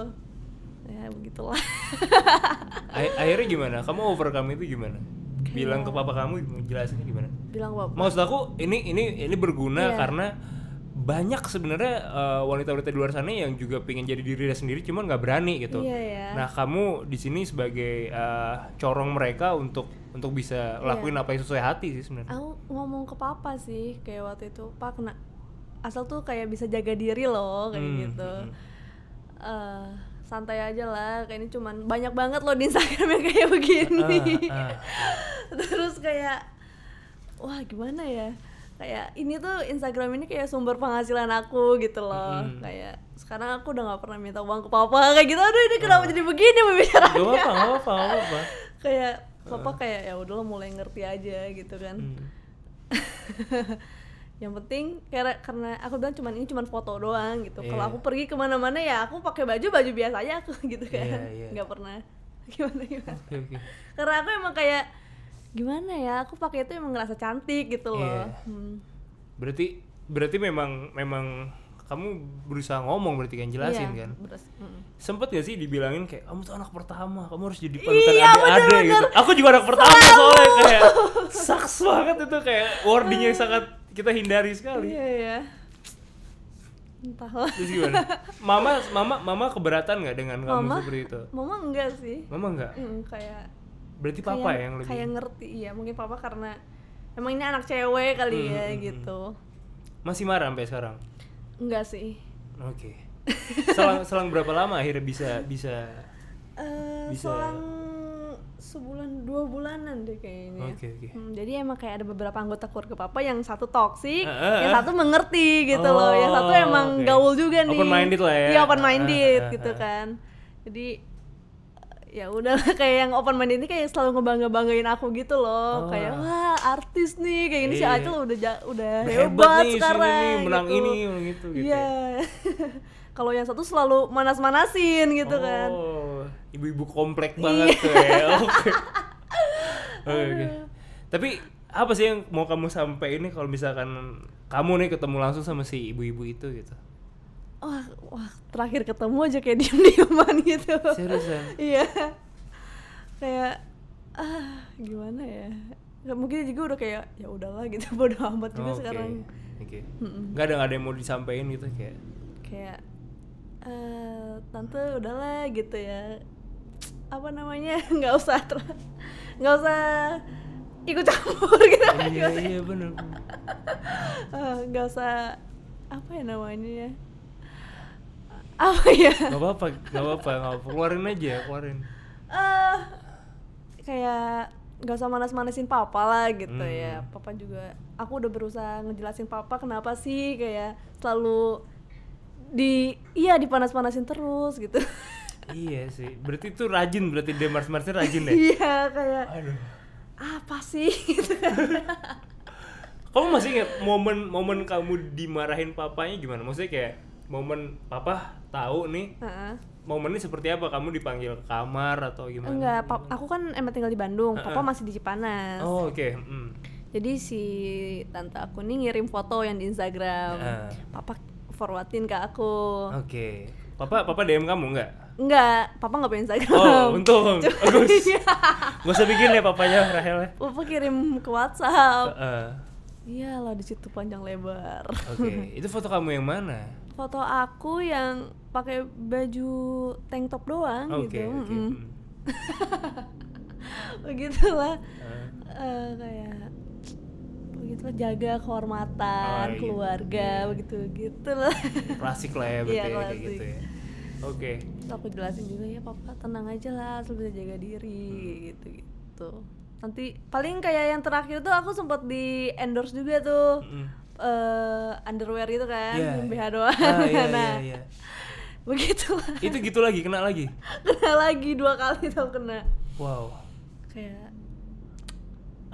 B: ya begitulah
A: A- akhirnya gimana? Kamu overcome itu gimana? Bilang ke papa kamu gimana? jelasinnya gimana?
B: bilang bapak
A: Maksud aku ini ini ini berguna
B: Iya.
A: karena banyak sebenarnya eh, wanita-wanita di luar sana yang juga pengen jadi dirinya sendiri cuman nggak berani gitu.
B: Iya, iya.
A: Nah kamu di sini sebagai eh, corong mereka untuk untuk bisa
B: Iya.
A: lakuin apa yang sesuai hati sih sebenarnya.
B: aku ngomong ke papa sih kayak waktu itu pak kena asal tuh kayak bisa jaga diri loh kayak
A: Hmm,
B: gitu
A: hmm.
B: Eh, santai aja lah kayak ini cuman banyak banget loh di Instagram yang kayak begini
A: Ah, ah.
B: terus kayak wah gimana ya kayak ini tuh Instagram ini kayak sumber penghasilan aku gitu loh
A: Mm-mm.
B: kayak sekarang aku udah nggak pernah minta uang ke papa kayak gitu aduh ini kenapa jadi begini pembicaraan
A: Gak Ah. apa-apa, gak apa-apa, gak apa-apa.
B: kayak papa kayak ya udah lah, mulai ngerti aja gitu kan
A: Hmm.
B: yang penting karena karena aku bilang cuman ini cuman foto doang gitu
A: Iya.
B: kalau aku pergi kemana-mana ya aku pakai baju baju biasa aja aku gitu kan
A: Iya, iya.
B: nggak pernah gimana gimana
A: Oke, oke.
B: karena aku emang kayak gimana ya aku pakai itu emang ngerasa cantik gitu loh
A: Iya.
B: Hmm.
A: Berarti berarti memang memang kamu berusaha ngomong berarti kan jelasin
B: Iya,
A: kan?
B: beres- mm.
A: sempet gak sih dibilangin kayak kamu tuh anak pertama kamu harus jadi panutan
B: Iya,
A: adik-adik
B: bener-bener.
A: gitu aku juga anak pertama soalnya kayak saks banget itu kayak wordingnya sangat kita hindari sekali
B: iya ya entahlah
A: terus gimana mama mama mama keberatan nggak dengan kamu
B: Mama?
A: seperti itu
B: mama enggak sih
A: mama nggak
B: Mm, kayak
A: berarti papa ya
B: kayak-
A: yang lebih
B: kayak ngerti iya mungkin papa karena emang ini anak cewek kali
A: Hmm,
B: ya
A: hmm, hmm.
B: gitu
A: masih marah sampai sekarang
B: enggak sih
A: oke selang selang berapa lama akhirnya bisa bisa
B: Eh,
A: Bisa-
B: selang sebulan dua bulanan deh kayaknya.
A: Oke, oke.
B: Hmm, jadi emang kayak ada beberapa anggota keluarga papa yang satu toksik,
A: Heeh.
B: yang satu mengerti gitu loh, yang satu
A: Eh, Oh,
B: emang
A: oke.
B: gaul juga nih.
A: Open minded lah ya.
B: Iya open minded
A: Heeh,
B: gitu
A: heeh.
B: kan. Jadi ya udahlah kayak yang open minded ini kayak selalu ngebangga banggain aku gitu
A: Oh.
B: loh, kayak wah artis nih kayak gini si
A: Iya.
B: Acil udah ja- udah
A: Hebat
B: hebat,
A: nih, sini
B: sekarang.
A: nih, menang
B: gitu.
A: ini, menang itu, gitu
B: Iya. Kalau yang satu selalu manas-manasin gitu kan. Iya.
A: Oh, ibu-ibu komplek banget tuh ya. Oke. Oke, oke. Tapi apa sih yang mau kamu sampaikan nih kalau misalkan kamu nih ketemu langsung sama si ibu-ibu itu gitu?
B: wah, wah terakhir ketemu aja kayak diem dieman gitu
A: Seriusan?
B: iya kayak ah gimana ya Nggak, mungkin juga udah kayak ya udahlah gitu bodo amat juga
A: Oke,
B: sekarang
A: Oke.
B: Mm-mm.
A: Nggak ada nggak ada yang mau disampaikan gitu kayak.
B: kayak eh tante udahlah gitu ya apa namanya nggak usah ter- nggak usah ikut campur gitu
A: Iya iya benar.
B: Eh, nggak usah apa ya namanya ya apa ya
A: Gak apa-apa, gak apa-apa, nggak apa-apa. Keluarin aja, keluarin.
B: eh kayak gak usah manas-manasin papa lah gitu
A: Hmm.
B: ya papa juga aku udah berusaha ngejelasin papa kenapa sih kayak selalu di iya dipanas-panasin terus gitu
A: Iya sih. Berarti itu rajin, berarti dia mars-marsnya rajin deh.
B: iya kayak
A: Aduh.
B: apa sih gitu
A: Kamu masih ingat momen-momen kamu dimarahin papanya gimana? Maksudnya kayak momen papa tahu nih
B: Heeh.
A: momennya seperti apa? Kamu dipanggil ke kamar atau gimana?
B: enggak pap- aku kan emang tinggal di Bandung papa masih di Cipanas
A: Oh, oke. Mm.
B: jadi si tante aku nih ngirim foto yang di Instagram
A: Heeh.
B: papa forwardin ke aku
A: Ah, Oke. Papa papa DM kamu enggak?
B: enggak papa nggak punya Instagram
A: Oh, untung. Bagus.
B: Iya.
A: Gak usah bikin ya papanya Rahel ya.
B: Papa kirim ke WhatsApp.
A: Heeh. Iya
B: Iyalah di situ panjang lebar.
A: Oke, itu foto kamu yang mana?
B: Foto aku yang pakai baju tank top doang
A: Ah, Oke, Hmm.
B: gitu.
A: oke.
B: mm-mm.
A: mm.
B: Begitulah.
A: Heeh.
B: eh, kayak begitulah jaga kehormatan
A: Oh, iya.
B: keluarga begitu gitulah.
A: Klasik lah ya berarti ya,
B: Iya,
A: kayak
B: klasik.
A: gitu ya. Oke.
B: Terus aku jelasin juga ya papa tenang aja lah, asal bisa jaga
A: Hmm.
B: diri gitu gitu. Nanti paling kayak yang terakhir tuh aku sempat di endorse juga tuh.
A: Mm.
B: eh underwear gitu kan,
A: Iya.
B: BH doang.
A: Ah, iya,
B: nah,
A: iya, iya.
B: begitu
A: Itu gitu lagi, kena lagi.
B: kena lagi dua kali tau kena.
A: Wow.
B: Kayak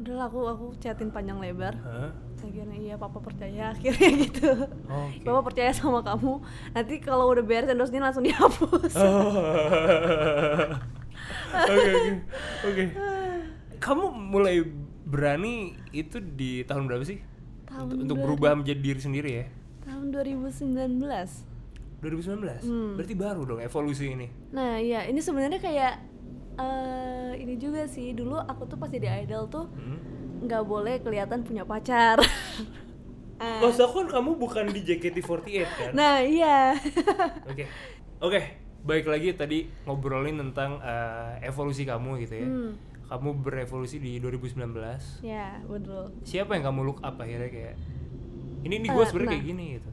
B: udahlah aku aku chatin panjang lebar.
A: Hah? Oh,
B: Akhirnya iya papa percaya akhirnya gitu.
A: Oke.
B: Papa percaya sama kamu. Nanti kalau udah beres endorse langsung dihapus.
A: Oh. Oke oke oke. Kamu mulai berani itu di tahun berapa sih?
B: Tahun
A: untuk, untuk berubah menjadi diri sendiri ya.
B: Tahun 2019.
A: 2019.
B: Hmm.
A: Berarti baru dong evolusi ini.
B: Nah, iya ini sebenarnya kayak eh ini juga sih dulu aku tuh pas jadi idol tuh
A: Hmm.
B: nggak boleh kelihatan punya pacar. Ah.
A: Masa kan kamu bukan di JKT48 kan?
B: Nah iya
A: Oke. Oke, baik lagi tadi ngobrolin tentang eh, evolusi kamu gitu ya.
B: Hmm.
A: Kamu berevolusi di 2019.
B: Ya betul
A: Siapa yang kamu look up akhirnya kayak ini ini gue
B: Eh,
A: sebenarnya
B: nah.
A: kayak gini gitu.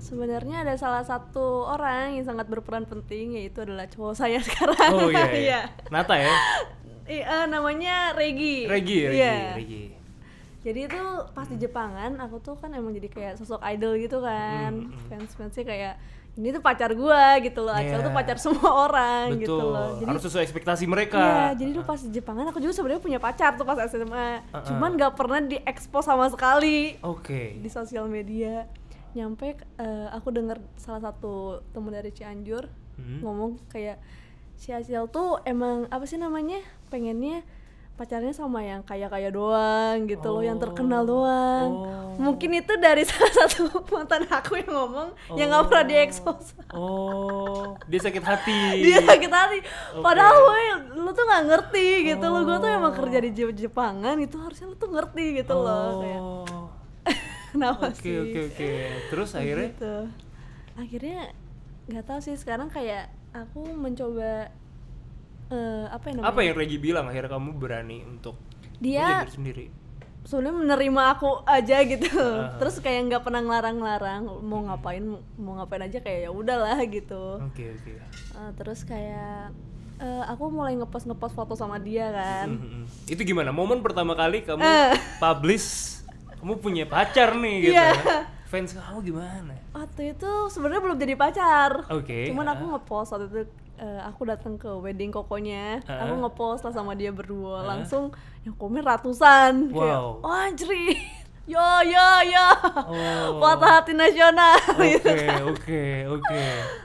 B: Sebenarnya ada salah satu orang yang sangat berperan penting Yaitu adalah cowok saya sekarang
A: Oh iya. iya. Nata ya.
B: I- eh, Namanya Regi
A: Regi, Regi,
B: Iya.
A: Regi.
B: Jadi itu pas di Jepangan aku tuh kan emang jadi kayak sosok idol gitu kan
A: Hmm, hmm.
B: Fans-fansnya kayak ini tuh pacar gua gitu loh Acel
A: Iya.
B: tuh pacar semua orang
A: Betul.
B: gitu loh Jadi
A: Harus sesuai ekspektasi mereka.
B: Iya, jadi dulu pas di Jepangan aku juga sebenarnya punya pacar tuh pas SMA.
A: Uh-uh.
B: Cuman nggak pernah diekspos sama sekali.
A: Oke.
B: di sosial media nyampe eh, aku denger salah satu temen dari Cianjur
A: Hmm.
B: ngomong kayak si Acil tuh emang apa sih namanya pengennya pacarnya sama yang kaya-kaya doang gitu loh yang terkenal
A: Oh.
B: doang
A: Oh.
B: mungkin itu dari salah satu mantan aku yang ngomong yang nggak pernah
A: Oh.
B: diekspos
A: Oh, dia sakit hati.
B: dia sakit hati
A: Iya. Oke.
B: padahal gue lu tuh nggak ngerti gitu loh gue tuh emang
A: Oh.
B: kerja di Je- Jepangan itu harusnya lu tuh ngerti gitu loh kayak
A: Oh.
B: kenapa
A: Oke,
B: sih
A: oke, oke. Terus akhirnya
B: gitu. akhirnya nggak tahu sih sekarang kayak aku mencoba eh, apa yang namanya
A: apa yang Regi bilang akhirnya kamu berani untuk
B: Dia- Gitu.
A: menjadi diri sendiri.
B: sebenarnya menerima aku aja gitu
A: Ah.
B: terus kayak nggak pernah ngelarang-larang mau ngapain mau ngapain aja kayak ya udahlah gitu
A: Oke, oke.
B: Eh, terus kayak eh, aku mulai ngepost ngepost foto sama dia kan
A: Mhm. Itu gimana? Momen pertama kali kamu
B: Eh.
A: publish kamu punya pacar nih gitu.
B: Iya.
A: Fans kamu gimana?
B: waktu itu sebenarnya belum jadi pacar
A: Oke,
B: cuman
A: ah.
B: aku ngepost waktu itu eh, aku datang ke wedding kokonya
A: Ah.
B: aku ngepost lah sama dia berdua langsung yang komen ratusan kayak
A: Wow.
B: oh anjir yo yo yo
A: Oh.
B: foto hati nasional gitu
A: Oke, oke, oke.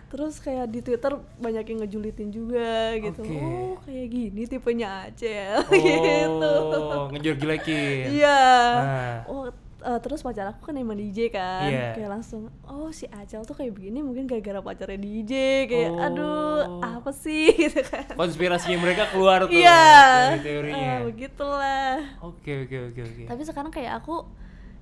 B: terus kayak di twitter banyak yang ngejulitin juga gitu
A: Oke.
B: oh kayak gini tipenya Acel gitu
A: Oh, ngejar gilekin.
B: Iya.
A: Nah.
B: Oh, eh, terus pacar aku kan emang DJ kan.
A: Iya.
B: Kayak langsung, "Oh, si Acel tuh kayak begini mungkin gara-gara pacarnya DJ." Kayak,
A: Oh.
B: "Aduh, apa sih?" gitu kan.
A: Konspirasinya mereka keluar tuh.
B: Iya.
A: Teori-teorinya.
B: Ah, begitulah.
A: Oke, oke, oke, oke.
B: Tapi sekarang kayak aku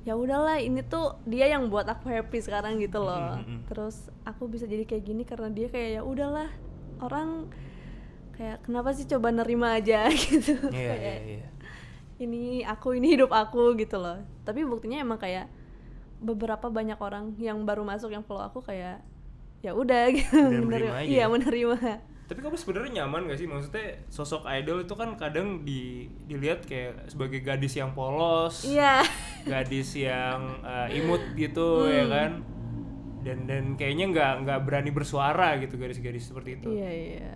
B: ya udahlah ini tuh dia yang buat aku happy sekarang gitu loh.
A: Mm, mm, mm.
B: Terus aku bisa jadi kayak gini karena dia kayak ya udahlah orang kayak kenapa sih coba nerima aja gitu.
A: Iya,
B: Kayak,
A: iya, iya.
B: ini aku ini hidup aku gitu loh tapi buktinya emang kayak beberapa banyak orang yang baru masuk yang follow aku kayak ya udah gitu
A: Bener, menerima aja
B: iya
A: ya?
B: menerima
A: Tapi kamu sebenarnya nyaman gak sih? Maksudnya sosok idol itu kan kadang di dilihat kayak sebagai gadis yang polos,
B: iya
A: gadis yang eh, imut gitu ya
B: Hmm.
A: kan. Dan dan kayaknya nggak nggak berani bersuara gitu gadis-gadis seperti itu.
B: iya iya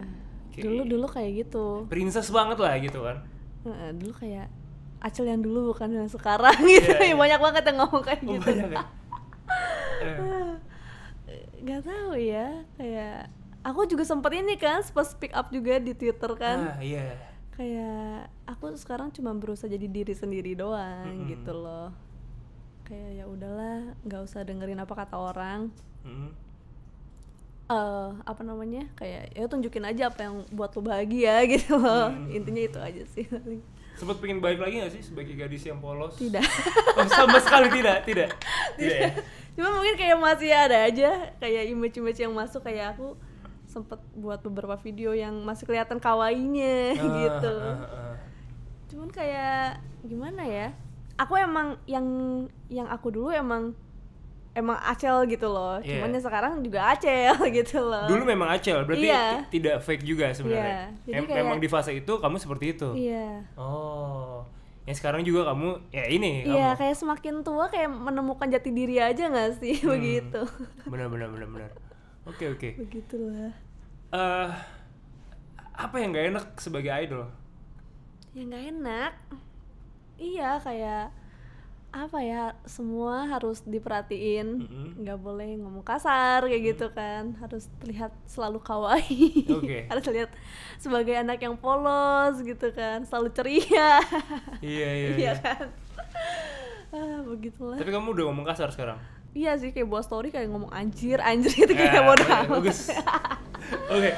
A: Oke.
B: dulu dulu kayak gitu
A: Princess banget lah gitu kan.
B: Heeh, dulu kayak acel yang dulu bukan yang sekarang gitu
A: Iya, iya.
B: banyak banget yang ngomong kayak
A: Oh,
B: gitu
A: banyak ya? Eh,
B: nggak tahu ya kayak aku juga sempet ini kan sempat speak up juga di twitter kan
A: ah, iya.
B: kayak aku tuh sekarang cuma berusaha jadi diri sendiri doang gitu loh kayak ya udahlah nggak usah dengerin apa kata orang
A: Mm.
B: eh apa namanya kayak ya tunjukin aja apa yang buat lo bahagia gitu loh intinya itu aja sih paling.
A: Sempet pengen balik lagi gak sih sebagai gadis yang polos?
B: tidak
A: Oh, sama sekali tidak, tidak. Tidak. ya?
B: cuma mungkin kayak masih ada aja kayak image-image yang masuk kayak aku sempet buat beberapa video yang masih kelihatan kawainya
A: Ah,
B: gitu
A: ah, ah.
B: cuman kayak gimana ya aku emang yang yang aku dulu emang emang acel gitu loh
A: Iya.
B: cuman yang sekarang juga acel gitu
A: ah.
B: loh
A: Dulu memang acel, berarti
B: Iya.
A: ti- tidak fake juga sebenarnya.
B: Iya, jadi
A: Em-
B: kayak-
A: Memang di fase itu kamu seperti itu.
B: iya
A: Oh, yang sekarang juga kamu ya ini
B: iya
A: kamu.
B: kayak semakin tua kayak menemukan jati diri aja nggak sih
A: Hmm.
B: begitu
A: Benar benar benar benar. Oke oke.
B: begitulah
A: Eh, apa yang gak enak sebagai idol?
B: ya nggak enak iya kayak apa ya semua harus diperhatiin
A: Mm-mm.
B: nggak boleh ngomong kasar kayak gitu kan harus terlihat selalu kawaii
A: Oke.
B: harus terlihat sebagai anak yang polos gitu kan selalu ceria
A: iya iya. iya.
B: iya kan ah, begitulah
A: Tapi kamu udah ngomong kasar sekarang.
B: iya sih kayak buat story kayak ngomong anjir anjir itu kayak
A: Eh,
B: bodoh
A: oke,
B: amat.
A: Bagus. Oke.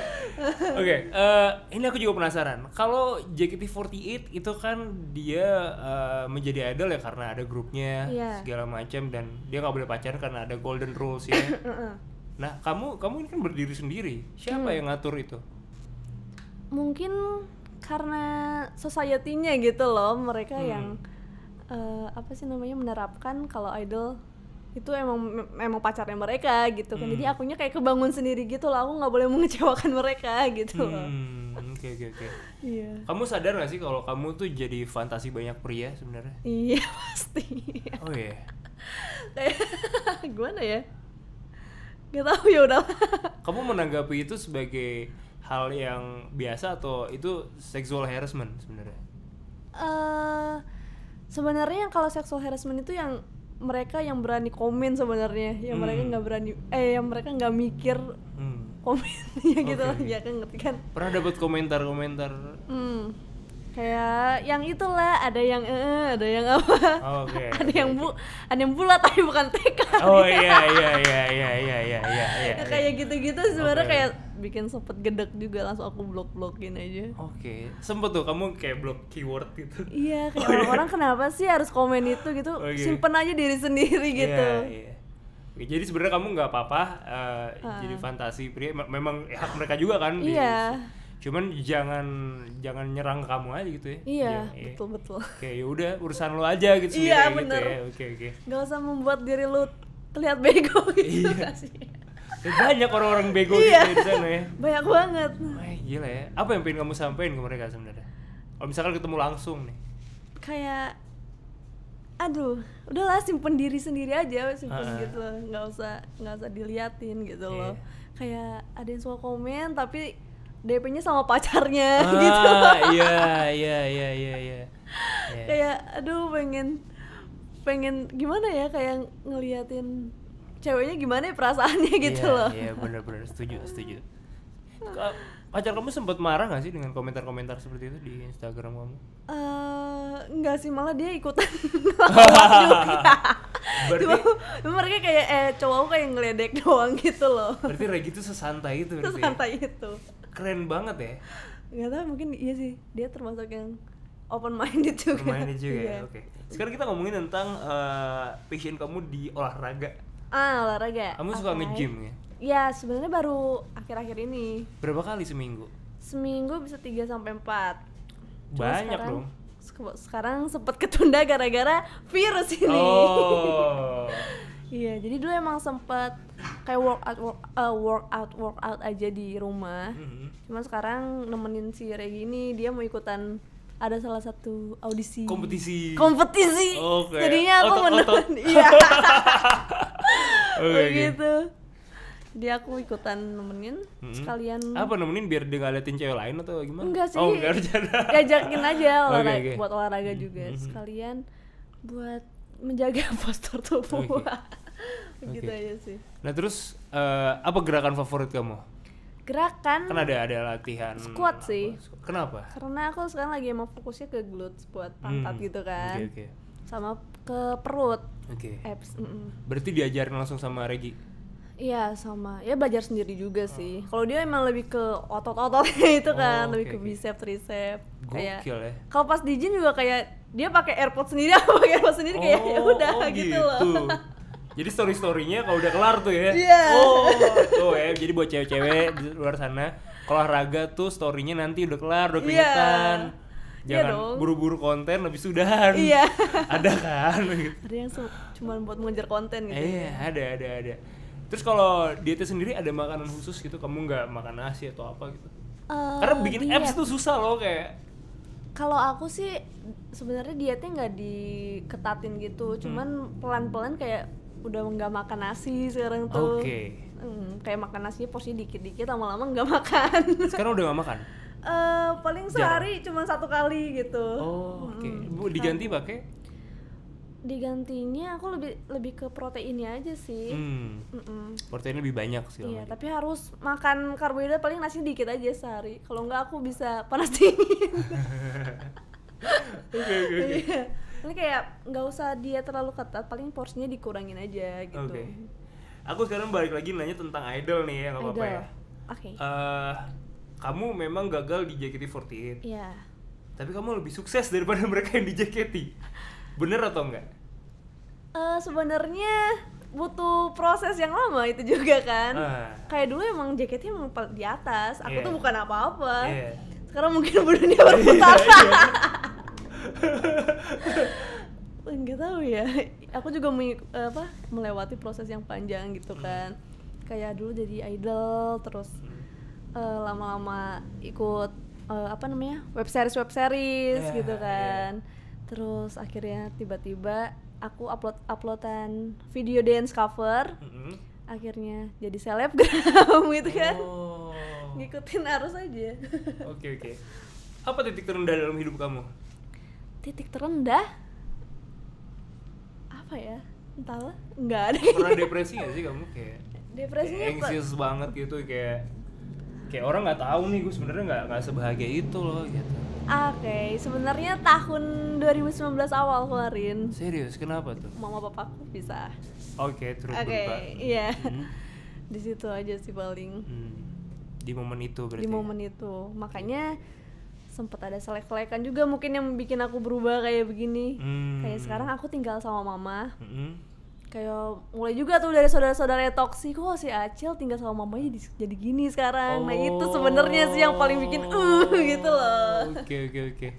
A: Oke, eh, ini aku juga penasaran. Kalau JKT48 itu kan dia eh, menjadi idol ya karena ada grupnya
B: Iya.
A: segala macam dan dia nggak boleh pacaran karena ada golden rules ya.
B: Heeh.
A: Nah, kamu kamu ini kan berdiri sendiri. Siapa
B: Hmm.
A: yang ngatur itu?
B: mungkin karena society-nya gitu loh mereka
A: Hmm.
B: yang eh, apa sih namanya menerapkan kalau idol itu emang mem- emang pacarnya mereka gitu
A: Hmm.
B: kan jadi akunya kayak kebangun sendiri gitu loh aku nggak boleh mengecewakan mereka gitu loh
A: Hmm, oke oke oke.
B: iya
A: Kamu sadar gak sih kalau kamu tuh jadi fantasi banyak pria sebenarnya?
B: iya pasti
A: Oh iya.
B: kayak gimana ya nggak tahu ya udah
A: Kamu menanggapi itu sebagai hal yang biasa atau itu sexual harassment sebenarnya?
B: eh sebenarnya yang kalau sexual harassment itu yang mereka yang berani komen sebenarnya yang mereka
A: Hmm.
B: nggak berani eh yang mereka nggak mikir
A: Hmm.
B: komennya gitu loh
A: Oke.
B: ya kan ngerti kan
A: Pernah dapat komentar-komentar?
B: hmm. kayak yang itulah ada yang eh ada yang apa
A: Oh, Oke.
B: ada yang bu ada yang bulat tapi bukan TK
A: Oh iya iya iya iya iya iya iya. iya,
B: Ya,
A: iya.
B: kayak gitu-gitu sebenarnya
A: Oke.
B: kayak bikin sempet gedek juga langsung aku blok-blokin aja
A: Oke, sempet tuh kamu kayak blok keyword gitu.
B: iya kayak orang-orang kenapa sih harus komen itu gitu
A: Oke.
B: simpen aja diri sendiri gitu
A: Iya, iya. Oke, Jadi sebenarnya kamu nggak apa-apa eh, jadi fantasi pria. Me- Memang ya, hak mereka juga kan. di-
B: Ah. Iya.
A: Cuman jangan jangan nyerang kamu aja gitu ya.
B: iya
A: Jangan- iya.
B: betul betul
A: Oke, ya udah urusan lo aja gitu sendiri
B: Iya,
A: gitu
B: bener.
A: ya. Oke, oke.
B: nggak usah membuat diri lu terlihat bego gitu
A: Iya.
B: nggak sih?
A: Ya, banyak orang-orang bego
B: Iya.
A: gitu ya di sana ya.
B: banyak banget
A: Wah, Gila ya. Apa yang pengen kamu sampaikan ke mereka sebenarnya? Kalau misalkan ketemu langsung nih.
B: kayak aduh udahlah simpen diri sendiri aja simpen
A: Ah.
B: gitu loh nggak usah nggak usah diliatin gitu
A: Iya.
B: loh kayak ada yang suka komen tapi DP-nya sama pacarnya
A: Ah,
B: gitu
A: Iya, iya, iya, iya, iya. Iya.
B: kayak aduh pengen pengen gimana ya kayak ngeliatin ceweknya gimana ya perasaannya gitu
A: Iya,
B: loh
A: Iya, benar-benar setuju, setuju. Ka- Pacar kamu sempat marah gak sih dengan komentar-komentar seperti itu di Instagram kamu?
B: Eh, enggak sih malah dia ikutan
A: Oh,
B: ngelawan juga. Cuma,
A: Berarti
B: cuma mereka kayak eh cowok aku kayak ngeledek doang gitu loh.
A: berarti Regi itu sesantai itu
B: Terus
A: berarti. ya?
B: santai gitu. itu.
A: Keren banget ya.
B: Enggak tahu mungkin iya sih dia termasuk yang open minded juga.
A: Permainnya juga
B: Iya.
A: ya. Oke. Sekarang kita ngomongin tentang eh, passion kamu di olahraga.
B: Ah, olahraga.
A: Kamu suka
B: Oke.
A: nge-gym ya?
B: Ya, sebenarnya baru akhir-akhir ini.
A: Berapa kali seminggu?
B: Seminggu bisa 3 sampai 4.
A: Banyak dong.
B: Sekarang sempat ketunda gara-gara virus ini.
A: Oh.
B: Iya, jadi dulu emang sempet kayak workout work, eh, workout workout aja di rumah.
A: Mhm.
B: Cuman sekarang nemenin si Regi ini dia mau ikutan ada salah satu audisi
A: Kompetisi.
B: kompetisi.
A: Oke.
B: Jadinya aku
A: Otot- otot.
B: menemen iya.
A: Oke, oke.
B: Begitu. Dia aku ikutan nemenin
A: Mhm.
B: sekalian
A: Apa nemenin biar dia nggak liatin cewek lain atau gimana?
B: Enggak sih.
A: Oh, enggak bercanda.
B: Ngajakin aja
A: Oke,
B: olahraga
A: oke.
B: buat olahraga juga
A: Mhm.
B: sekalian buat menjaga postur tubuh.
A: Oke.
B: Begitu
A: Oke.
B: aja sih.
A: Nah, terus eh, apa gerakan favorit kamu?
B: Gerakan
A: Kan ada ada latihan
B: Ah. Squat sih.
A: squat. Kenapa?
B: karena aku sekarang lagi emang fokusnya ke glutes buat pantat
A: Hmm.
B: gitu kan Eh.
A: Oke, oke.
B: sama ke perut
A: Oke.
B: abs mm-mm.
A: Berarti diajarin langsung sama Regi.
B: iya sama ya belajar sendiri juga sih kalau dia emang lebih ke otot-ototnya itu
A: Oh,
B: kan
A: oke,
B: lebih ke
A: oke.
B: bicep tricep kayak
A: Gokil ya.
B: kalau pas di gym juga kayak dia pakai airpod sendiri aku pakai airpod sendiri kayak ya udah
A: oh
B: gitu. loh
A: Jadi story storynya kalau udah kelar tuh ya.
B: Iya.
A: Oh, tuh ya. Jadi buat cewek-cewek di luar sana, kalau olahraga tuh storynya nanti udah kelar, udah
B: Iya.
A: keringetan.
B: Iya
A: Jangan
B: dong.
A: buru-buru konten habis sudahan.
B: Iya.
A: ada kan gitu.
B: ada yang su- cuman buat mengejar konten gitu
A: Eh, ada ada ada. Terus kalau dietnya sendiri ada makanan khusus gitu, kamu nggak makan nasi atau apa gitu?
B: Eh,
A: Karena bikin
B: diet.
A: apps tuh susah loh kayak.
B: Kalau aku sih sebenarnya dietnya nggak diketatin
A: Hmm.
B: gitu, cuman pelan-pelan kayak udah nggak makan nasi sekarang tuh.
A: Oke.
B: Hmm, kayak makan nasinya porsinya dikit-dikit lama-lama nggak makan.
A: Sekarang udah gak makan.
B: Eh paling
A: Jarang.
B: sehari cuma satu kali gitu.
A: Oh, oke.
B: Mm-mm.
A: Bu, Diganti pakai?
B: Digantinya aku lebih lebih ke proteinnya aja sih.
A: Hmm.
B: Mm-mm.
A: Proteinnya lebih banyak sih.
B: Iya, tapi harus makan karbohidrat paling nasi dikit aja sehari. Kalau nggak aku bisa panas dingin.
A: Oke, oke, oke.
B: Iya. Ini kayak nggak usah diet terlalu ketat, paling porsinya dikurangin aja gitu.
A: Oke. Aku sekarang balik lagi nanya tentang idol nih ya, nggak apa-apa
B: Idol.
A: ya.
B: Oke.
A: Eh, kamu memang gagal di JKT48,
B: Iya.
A: tapi kamu lebih sukses daripada mereka yang di JKT. Bener atau enggak?
B: Eh, sebenarnya butuh proses yang lama itu juga kan.
A: Ah.
B: Kayak dulu emang jaketnya emang pal- di atas. Aku
A: Iya.
B: tuh bukan apa-apa.
A: Iya.
B: Sekarang mungkin dunia berputar. Enggak tahu ya. Aku juga mengi- apa melewati proses yang panjang gitu
A: Hmm.
B: kan. Kayak dulu jadi idol terus eh, lama-lama ikut eh, apa namanya web series web series
A: Ya,
B: gitu
A: ya.
B: kan terus akhirnya tiba-tiba aku upload uploadan video dance cover
A: Mm-mm.
B: akhirnya jadi selebgram gitu kan Gitu.
A: Oh.
B: ngikutin arus aja
A: Oke, oke. Apa titik terendah dalam hidup kamu?
B: titik terendah apa ya entahlah nggak ada
A: Pernah depresi gak sih kamu kayak?
B: depresinya
A: kayak
B: kok-
A: anxious banget gitu kayak kayak orang nggak tahu nih gue sebenarnya nggak nggak sebahagia itu loh gitu.
B: Oke, sebenarnya tahun 2019 awal kemarin
A: Serius, kenapa tuh?
B: mama bapakku pisah.
A: Oke, terus
B: Oke,
A: berubah.
B: iya.
A: Hmm.
B: Di situ aja sih paling
A: Hmm. Di momen itu berarti. ya.
B: di momen itu. Makanya sempet ada selek-selekan juga mungkin yang bikin aku berubah kayak begini.
A: Hmm.
B: Kayak sekarang aku tinggal sama mama.
A: Mm-mm.
B: Kayak mulai juga tuh dari saudara-saudara toksik kok si Acil tinggal sama mamanya jadi, jadi gini sekarang. Nah, itu
A: Oh.
B: sebenarnya sih yang paling bikin uh gitu loh.
A: Oke, oke, oke.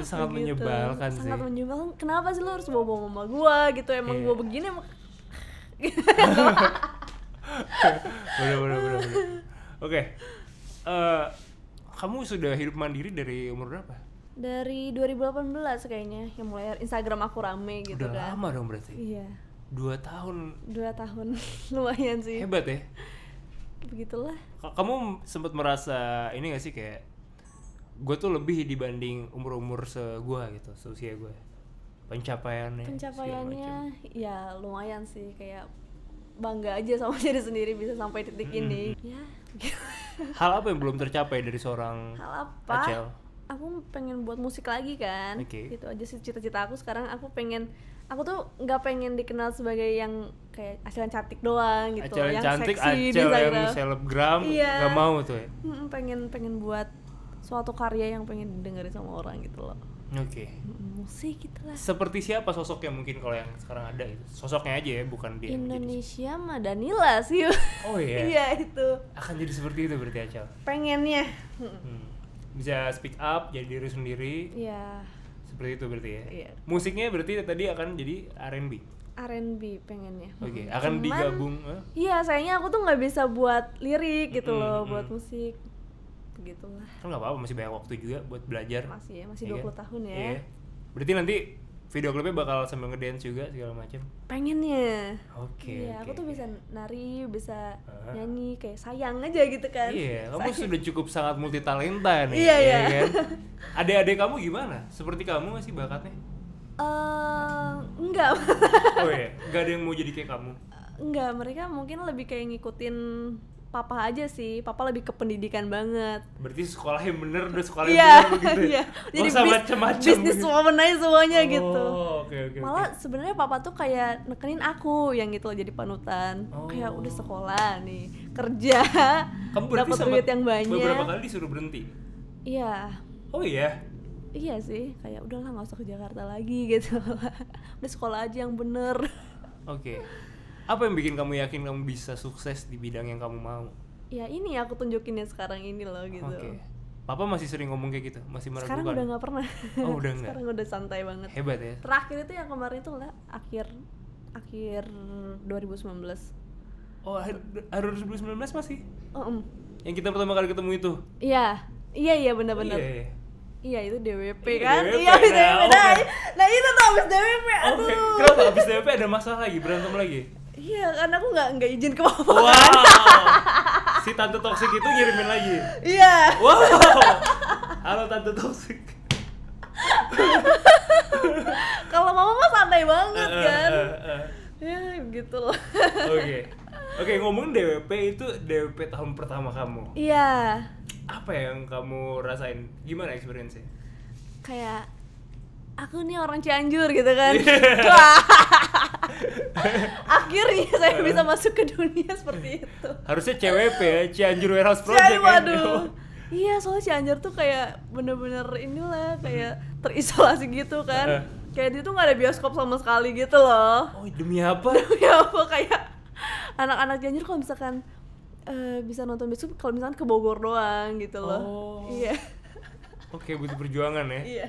A: Itu sangat
B: Begitu.
A: menyebalkan sih.
B: sangat menyebalkan kenapa sih lo harus bawa bawa mama gua gitu emang
A: Iya.
B: gua begini emang
A: bener, bener, bener, bener. Oke. Eh kamu sudah hidup mandiri dari umur berapa?
B: Dari 2018 kayaknya yang mulai Instagram aku rame gitu
A: udah
B: kan.
A: lama dong berarti.
B: Iya,
A: Dua tahun
B: dua tahun lumayan sih.
A: hebat ya.
B: Begitulah.
A: Ka- Kamu sempat merasa ini gak sih kayak gue tuh lebih dibanding umur-umur segua gitu, seusia gue. Pencapaiannya. Iya, segala macam.
B: Pencapaiannya ya lumayan sih kayak bangga aja sama diri sendiri bisa sampai titik ini. Ya.
A: Hal apa yang belum tercapai dari seorang
B: Hal apa?
A: Acel?
B: Aku pengen buat musik lagi kan.
A: Oke.
B: Gitu aja sih cita-cita aku sekarang aku pengen aku tuh nggak pengen dikenal sebagai yang kayak Acel yang cantik doang gitu.
A: Acel yang cantik,
B: seksi di
A: Acel yang
B: Instagram.
A: selebgram,
B: Iya.
A: nggak mau tuh ya.
B: Mm, pengen pengen buat suatu karya yang pengen didengerin sama orang gitu loh.
A: Oke.
B: Mm, Musik gitu lah.
A: Seperti siapa sosoknya mungkin kalau yang sekarang ada gitu. Sosoknya aja ya, bukan dia. yang jadi-
B: Indonesia mah Danila sih.
A: Oh iya.
B: Iya itu.
A: Akan jadi seperti itu berarti Acel.
B: Pengennya.
A: Hmm. Bisa speak up, jadi diri sendiri,
B: Iya.
A: seperti itu berarti ya.
B: Iya.
A: Musiknya berarti tadi akan jadi R&B.
B: R&B pengennya.
A: Oke, akan
B: Hmm. Cuman-
A: digabung. eh?
B: Iya, sayangnya aku tuh nggak bisa buat lirik gitu
A: Mm-mm,
B: loh,
A: mm-mm.
B: buat musik. Begitulah.
A: Kan nggak apa-apa, masih banyak waktu juga buat belajar.
B: Masih ya, masih
A: Iya
B: 20
A: kan?
B: tahun ya.
A: Iya. Berarti nanti video klipnya bakal sambil ngedance juga segala macam.
B: Pengennya.
A: Oke.
B: iya, aku
A: oke,
B: tuh
A: oke.
B: bisa nari, bisa
A: Ah.
B: nyanyi kayak sayang aja gitu kan.
A: Iya, kamu sudah cukup sangat multitalenta nih.
B: Iya, iya.
A: kan? Adik-adik kamu gimana? Seperti kamu masih bakatnya?
B: Eh, enggak.
A: Oh iya, nggak ada yang mau jadi kayak kamu.
B: enggak, mereka mungkin lebih kayak ngikutin papa aja sih. Papa lebih ke pendidikan banget.
A: Berarti sekolah yang bener udah sekolah yang
B: Iya,
A: bener begitu. ya?
B: iya.
A: Jadi
B: Jadi
A: usah
B: bis-
A: macam-macam.
B: bisnis woman aja semuanya
A: gitu? Oh,
B: gitu.
A: Oke, oke. oke.
B: Malah sebenarnya papa tuh kayak nekenin aku yang gitu loh jadi panutan.
A: Oh.
B: Kayak udah sekolah nih, kerja,
A: kamu berarti
B: dapat
A: sempat
B: duit yang
A: Beberapa
B: banyak.
A: kali disuruh berhenti.
B: Iya.
A: Oh iya.
B: Iya sih, kayak udahlah nggak usah ke Jakarta lagi gitu. udah sekolah aja yang bener.
A: Oke. Apa yang bikin kamu yakin kamu bisa sukses di bidang yang kamu mau?
B: Ya ini aku tunjukin ya sekarang ini loh gitu.
A: Oke. Papa masih sering ngomong kayak gitu, masih meragukan.
B: Sekarang udah nggak pernah.
A: Oh, udah nggak?
B: sekarang udah santai banget.
A: Hebat ya.
B: Terakhir itu yang kemarin itu lah akhir akhir 2019.
A: Oh, har- harus 2019 masih?
B: Oh, em.
A: Yang kita pertama kali ketemu itu.
B: Iya. Iya iya benar-benar.
A: Iya, iya.
B: Iya itu DWP
A: Iya,
B: kan?
A: DWP,
B: Iya habis
A: nah,
B: DWP. Nah,
A: oke.
B: nah itu tuh habis DWP. Aduh.
A: Oke, kenapa habis DP ada masalah lagi, berantem lagi?
B: Iya karena aku nggak nggak izin ke papa.
A: Wow. si tante toksik itu ngirimin lagi.
B: Iya.
A: Wow. Halo tante toksik.
B: Kalau mama mah santai banget
A: Eh, eh,
B: kan.
A: eh, eh.
B: Ya gitu loh.
A: Oke. Oke, ngomong DWP itu DWP tahun pertama kamu.
B: Iya.
A: Apa yang kamu rasain? Gimana experience-nya?
B: Kayak aku nih orang Cianjur gitu kan.
A: Iya.
B: Akhirnya saya bisa masuk ke dunia seperti itu.
A: Harusnya CWP ya, Cianjur Warehouse Project.
B: Cianjur,
A: kan?
B: waduh. Iya, soalnya Cianjur tuh kayak bener-bener inilah kayak terisolasi gitu
A: Eh.
B: kan. Kayak dia tuh gak ada bioskop sama sekali gitu loh.
A: Oh, demi apa?
B: Ya apa kayak anak-anak Cianjur kalau misalkan eh, bisa nonton bioskop kalau misalkan ke Bogor doang gitu loh.
A: Oh.
B: Iya.
A: Oke, butuh perjuangan ya.
B: Iya.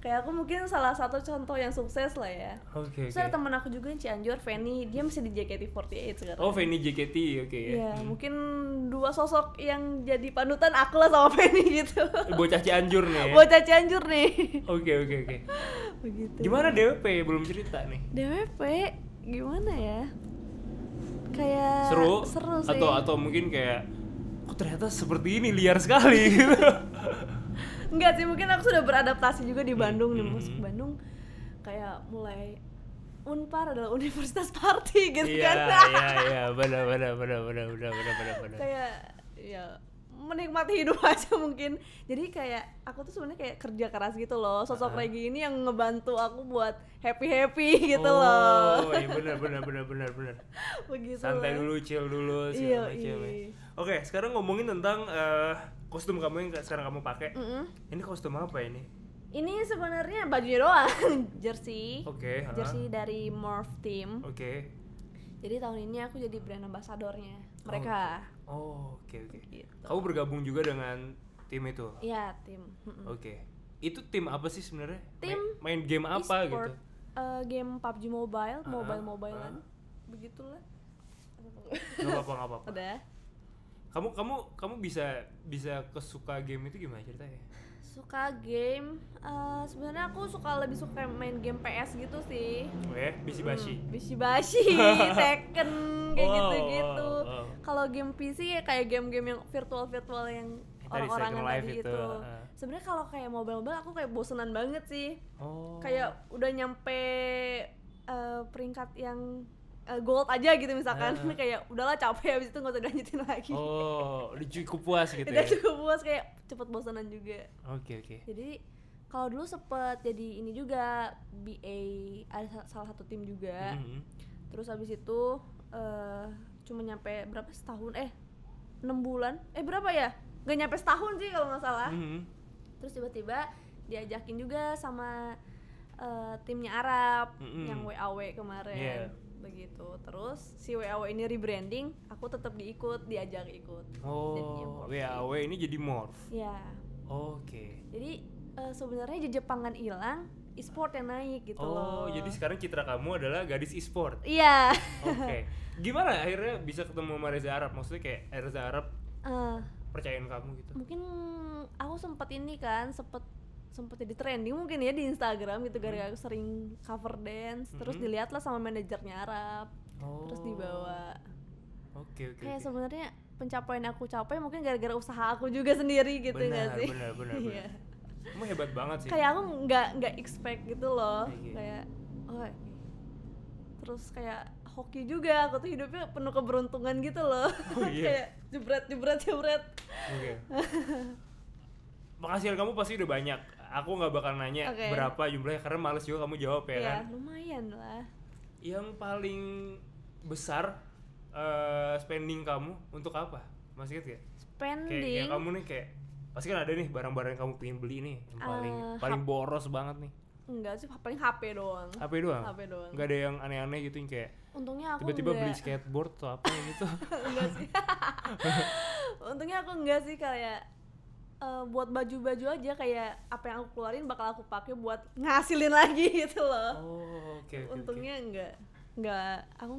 B: Kayak aku mungkin salah satu contoh yang sukses lah ya.
A: Oke,
B: Terus
A: oke.
B: ada teman aku juga yang Cianjur, Feni, dia masih di JKT48 sekarang.
A: Oh, Feni JKT, oke ya.
B: Iya,
A: Hmm.
B: mungkin dua sosok yang jadi panutan aku lah sama Penny gitu.
A: Bocah Cianjur nih ya.
B: Bocah Cianjur nih.
A: Oke, oke, oke.
B: Begitu.
A: Gimana DWP? Belum cerita nih.
B: DWP gimana ya? Kayak
A: seru,
B: seru sih.
A: atau atau mungkin kayak kok ternyata seperti ini liar sekali gitu.
B: Enggak sih, mungkin aku sudah beradaptasi juga di Bandung nih,
A: hmm,
B: masuk
A: hmm.
B: Bandung kayak mulai Unpar adalah universitas party gitu
A: Iya,
B: kan.
A: iya, iya, benar benar benar benar benar benar benar benar.
B: kayak ya menikmati hidup aja mungkin jadi kayak aku tuh sebenarnya kayak kerja keras gitu loh sosok
A: Ah.
B: Regi ini yang ngebantu aku buat happy happy gitu
A: oh,
B: loh
A: iya benar benar benar benar benar.
B: begitu
A: Oh, Santai
B: lah.
A: dulu, chill dulu segala
B: Iya,
A: macam ya.
B: iya.
A: Oke, sekarang ngomongin tentang eh, kostum kamu yang sekarang kamu pakai.
B: Mm-mm.
A: Ini kostum apa ini?
B: ini sebenarnya bajunya doang jersey
A: Oke, ha.
B: jersey dari Morph Team
A: Oke.
B: jadi tahun ini aku jadi brand ambassadornya mereka
A: Oh, oke oke.
B: Gitu.
A: Kamu bergabung juga dengan tim itu. Oke.
B: Iya tim Mm-mm.
A: Itu tim apa sih sebenarnya?
B: Tim
A: main, main game apa
B: E-sport,
A: gitu?
B: eh, game PUBG Mobile
A: Ah,
B: mobile mobilean
A: ah.
B: begitulah
A: Gak apa-apa, gak apa-apa.
B: udah
A: Kamu kamu kamu bisa bisa kesuka game itu gimana ceritanya?
B: Suka game, eh, sebenarnya aku suka lebih suka main game PS gitu sih.
A: Oh ya, Bishibashi.
B: Hmm, Bishibashi, Tekken kayak
A: Wow,
B: gitu-gitu.
A: wow, wow.
B: Kalau game PC ya kayak game-game yang virtual-virtual yang
A: Yang tadi
B: orang-orang
A: Second
B: yang
A: Life
B: tadi
A: itu, uh-uh.
B: itu.
A: heeh.
B: Sebenarnya kalau kayak mobile-mobile aku kayak bosenan banget sih.
A: Oh.
B: Hmm. Kayak udah nyampe eh, peringkat yang eh, gold aja gitu misalkan.
A: Heeh.
B: kayak udahlah capek habis itu nggak usah dilanjutin lagi.
A: Uh-uh. Oh, udah cukup puas gitu
B: Udah
A: ya.
B: cukup puas kayak cepet bosenan juga.
A: Oke, oke.
B: Jadi kalau dulu sempet jadi ini juga BA ada sa- salah satu tim juga.
A: Mhm.
B: Terus habis itu eh cuma nyampe berapa setahun eh 6 bulan. Eh berapa ya? Gak nyampe setahun sih kalau nggak salah.
A: Mhm.
B: Terus tiba-tiba diajakin juga sama eh, timnya Arab
A: Mm-mm.
B: yang WAW
A: Iya.
B: kemarin. Begitu. Terus si WAW ini rebranding, aku tetap diikut, diajak ikut. Dan dia
A: Oh,
B: morph.
A: WAW ini jadi morph.
B: Ya.
A: Oke.
B: Jadi eh, sebenarnya jejepangan hilang, e-sport yang naik gitu
A: Oh,
B: loh.
A: jadi sekarang citra kamu adalah gadis e-sport.
B: Iya.
A: Oke. Gimana akhirnya bisa ketemu sama Reza Arab? Maksudnya kayak Reza Arab
B: Eh,
A: percayain kamu gitu.
B: mungkin aku sempat ini kan sempet sempet jadi trending mungkin ya di Instagram gitu
A: Hmm.
B: gara-gara aku sering cover dance terus
A: Mhm.
B: dilihat lah sama manajernya Arab
A: Oh.
B: terus dibawa
A: Oke, oke.
B: kayak
A: oke.
B: sebenarnya pencapaian aku capai mungkin gara-gara usaha aku juga sendiri gitu
A: Benar,
B: nggak sih
A: benar, benar, benar.
B: Iya.
A: Kamu hebat banget sih.
B: kayak aku nggak nggak expect gitu loh
A: Iya.
B: kayak oh terus kayak hoki juga aku tuh hidupnya penuh keberuntungan gitu loh
A: Oh, iya.
B: kayak jebret jebret jebret
A: Oke. Penghasilan kamu pasti udah banyak. Aku nggak bakal nanya
B: Oke.
A: berapa jumlahnya karena males juga kamu jawab ya kan.
B: ya lumayan lah
A: Yang paling besar eh, spending kamu untuk apa? Masih inget gak? Kayak,
B: spending
A: kayak kamu nih kayak pasti kan ada nih barang-barang yang kamu pengen beli nih yang paling
B: Eh,
A: paling boros banget nih.
B: Enggak sih, paling HP doang.
A: HP doang.
B: HP doang.
A: Nggak ada yang aneh-aneh gitu yang kayak
B: Untungnya aku
A: tiba-tiba beli
B: enggak.
A: skateboard atau apa gitu.
B: enggak sih. Untungnya aku enggak sih kayak eh, buat baju-baju aja kayak apa yang aku keluarin bakal aku pakai buat ngasilin lagi gitu loh.
A: Oh, oke oke, oke.
B: Untungnya enggak enggak aku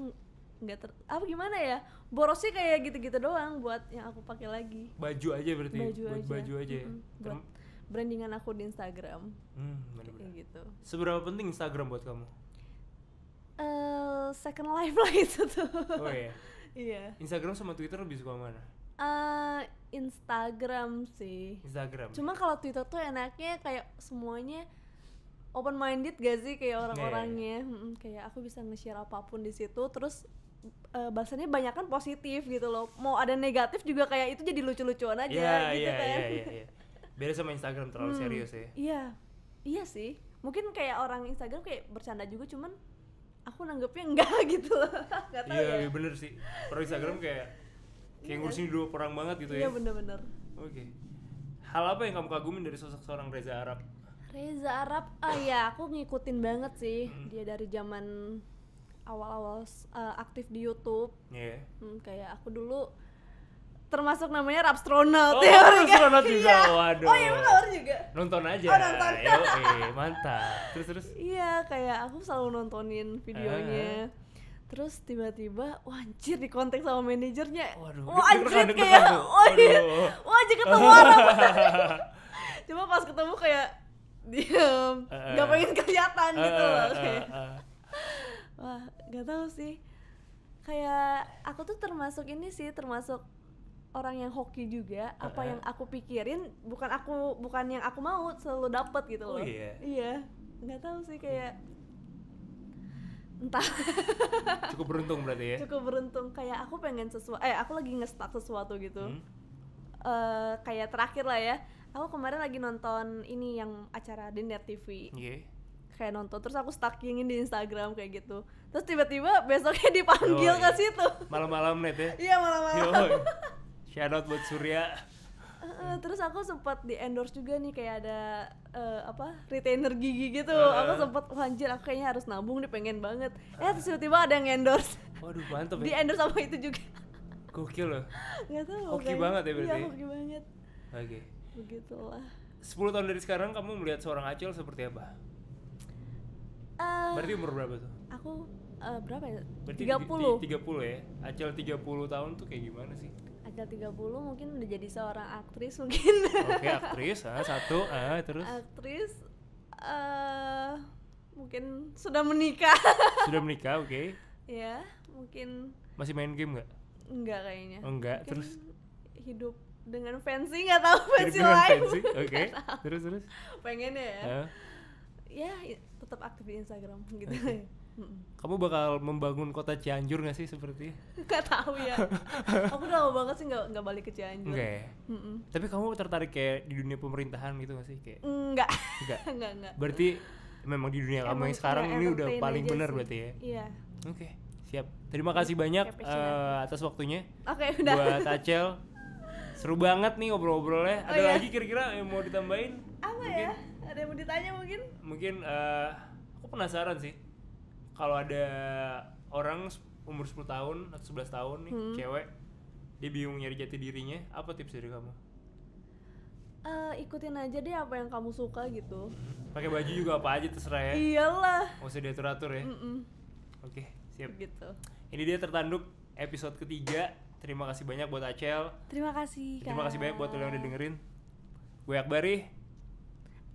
B: enggak ter apa gimana ya? Borosnya kayak gitu-gitu doang buat yang aku pakai lagi.
A: baju aja berarti.
B: Baju
A: buat
B: aja.
A: baju aja. ya?
B: Mm-mm. Buat
A: Term-
B: brandingan aku di Instagram
A: Hmm, bener-bener.
B: kayak gitu.
A: Seberapa penting Instagram buat kamu?
B: Eh, second life lah itu tuh.
A: Oh iya.
B: Iya.
A: Instagram sama Twitter lebih suka mana?
B: eh Instagram sih.
A: Instagram.
B: Cuma kalau Twitter tuh enaknya kayak semuanya open minded
A: Iya,
B: gak sih kayak orang-orangnya. Mm, kayak aku bisa nge-share apapun di situ terus eh, bahasannya banyak kan positif gitu loh. Mau ada negatif juga kayak itu jadi lucu-lucuan aja
A: Iya,
B: gitu
A: iya,
B: kan.
A: iya, iya, iya. Beda sama Instagram terlalu serius ya.
B: Iya. Iya sih. Mungkin kayak orang Instagram kayak bercanda juga cuman aku nanggepnya enggak gitu loh. Enggak tahu
A: Iya,
B: ya.
A: iya, bener sih. Kalau Instagram kayak kayak ngurusin dua orang banget gitu ya.
B: Iya bener-bener.
A: Oke. Hal apa yang kamu kagumin dari sosok seorang Reza Arab?
B: Reza Arab, ah ya aku ngikutin banget sih
A: Hmm.
B: dia dari zaman awal-awal s- eh, aktif di YouTube,
A: Iya.
B: Hmm, kayak aku dulu termasuk namanya
A: Oh,
B: Rapstronaut ya orang
A: Rapstronaut
B: kayak-
A: juga,
B: iya.
A: waduh.
B: Oh iya emang kabar juga.
A: Nonton aja.
B: Oh, nonton.
A: Yoi, mantap. Terus terus.
B: Iya kayak aku selalu nontonin
A: Eh.
B: videonya. Terus tiba-tiba, wah anjir di kontak sama manajernya.
A: Waduh,
B: wah
A: deg-degan,
B: anjir
A: deg-degan
B: kayak,
A: tuh.
B: wah iya,
A: Aduh.
B: wah anjir ketemu orang. Cuma pas ketemu kayak diam,
A: Eh,
B: nggak pengen kelihatan gitu
A: Eh,
B: loh.
A: eh,
B: kayak.
A: eh, eh.
B: Wah, gak tahu sih. Kayak aku tuh termasuk ini sih, termasuk orang yang hoki juga. Apa
A: Heeh.
B: yang aku pikirin bukan aku bukan yang aku mau selalu dapet gitu
A: Oh
B: loh.
A: iya.
B: Iya. Gak tahu sih kayak entah
A: Cukup beruntung berarti ya.
B: cukup beruntung kayak aku pengen sesuatu eh aku lagi ngestak sesuatu gitu
A: Hmm.
B: Eh, kayak terakhir lah ya aku kemarin lagi nonton ini yang acara di net TV
A: Iya.
B: kayak nonton terus aku stalkingin di Instagram kayak gitu terus tiba-tiba besoknya dipanggil
A: Yoi.
B: ke situ
A: Malam-malam net ya.
B: iya malam-malam
A: Yoi. Shout out buat Surya.
B: Eh, terus aku sempat di endorse juga nih kayak ada eh, apa retainer gigi gitu
A: Eh.
B: aku sempat "Wah, anjir aku kayaknya harus nabung nih pengen banget eh terus tiba-tiba ada yang endorse
A: Waduh, mantep
B: di
A: ya.
B: endorse sama itu juga
A: Gokil loh.
B: nggak tahu
A: Hoki
B: kayaknya.
A: banget ya berarti?
B: iya hoki banget
A: Oke.
B: begitulah
A: 10 tahun dari sekarang kamu melihat seorang Acil seperti apa?
B: Eh,
A: Berarti umur berapa tuh?
B: aku eh, berapa ya
A: Berarti
B: 30
A: di- di- 30 ya. Acil 30 tahun tuh kayak gimana sih?
B: Agak 30 mungkin udah jadi seorang aktris mungkin.
A: Oke, aktris, ah, satu, ah, terus
B: aktris eh mungkin sudah menikah.
A: sudah menikah, oke.
B: ya, mungkin
A: Masih main game nggak?
B: enggak kayaknya.
A: Oh, enggak,
B: Mungkin
A: terus?
B: hidup dengan fancy nggak tahu
A: Jadi
B: fancy
A: beneran
B: lain.
A: pensi, Oke. Terus terus.
B: Pengen ya.
A: Ah.
B: Ya, i- tetap aktif di Instagram gitu. Mm-mm.
A: kamu bakal membangun kota Cianjur nggak sih seperti?
B: nggak tahu ya. Aku udah lama banget sih nggak nggak balik ke Cianjur.
A: Enggak ya?
B: Mm-mm.
A: Tapi kamu tertarik kayak di dunia pemerintahan gitu nggak sih kayak?
B: Enggak.
A: Enggak.
B: enggak, enggak.
A: Berarti memang di dunia kamu
B: Emang
A: yang sekarang
B: ya
A: ini udah
B: entertain
A: paling
B: aja
A: benar
B: sih.
A: berarti ya.
B: Iya.
A: Oke, siap. Terima kasih banyak
B: Kayak passion
A: eh,
B: aku.
A: atas waktunya
B: Oke, udah.
A: buat Acel. Seru banget nih ngobrol-ngobrolnya.
B: Oh
A: Ada
B: iya.
A: lagi kira-kira yang mau ditambahin?
B: Apa
A: Mungkin-
B: ya? Ada yang mau ditanya mungkin?
A: Mungkin eh, aku penasaran sih. Kalau ada orang s- umur 10 tahun atau 11 tahun nih,
B: Hmm.
A: cewek dia bingung nyari jati dirinya, apa tips dari kamu?
B: Eh, ikutin aja deh apa yang kamu suka gitu.
A: Pakai baju juga apa aja terserah
B: Iya.
A: ya.
B: Iyalah.
A: Nggak usah diatur-atur ya.
B: Mm-mm.
A: Oke, siap.
B: Gitu.
A: Ini dia tertanduk episode ketiga. Terima kasih banyak buat Acel.
B: Terima kasih.
A: Terima kasih
B: Kak.
A: banyak buat lo yang udah dengerin. Gue Akbari.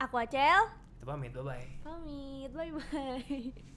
B: Aku Acel.
A: Kita pamit, bye-bye.
B: Pamit. Bye bye.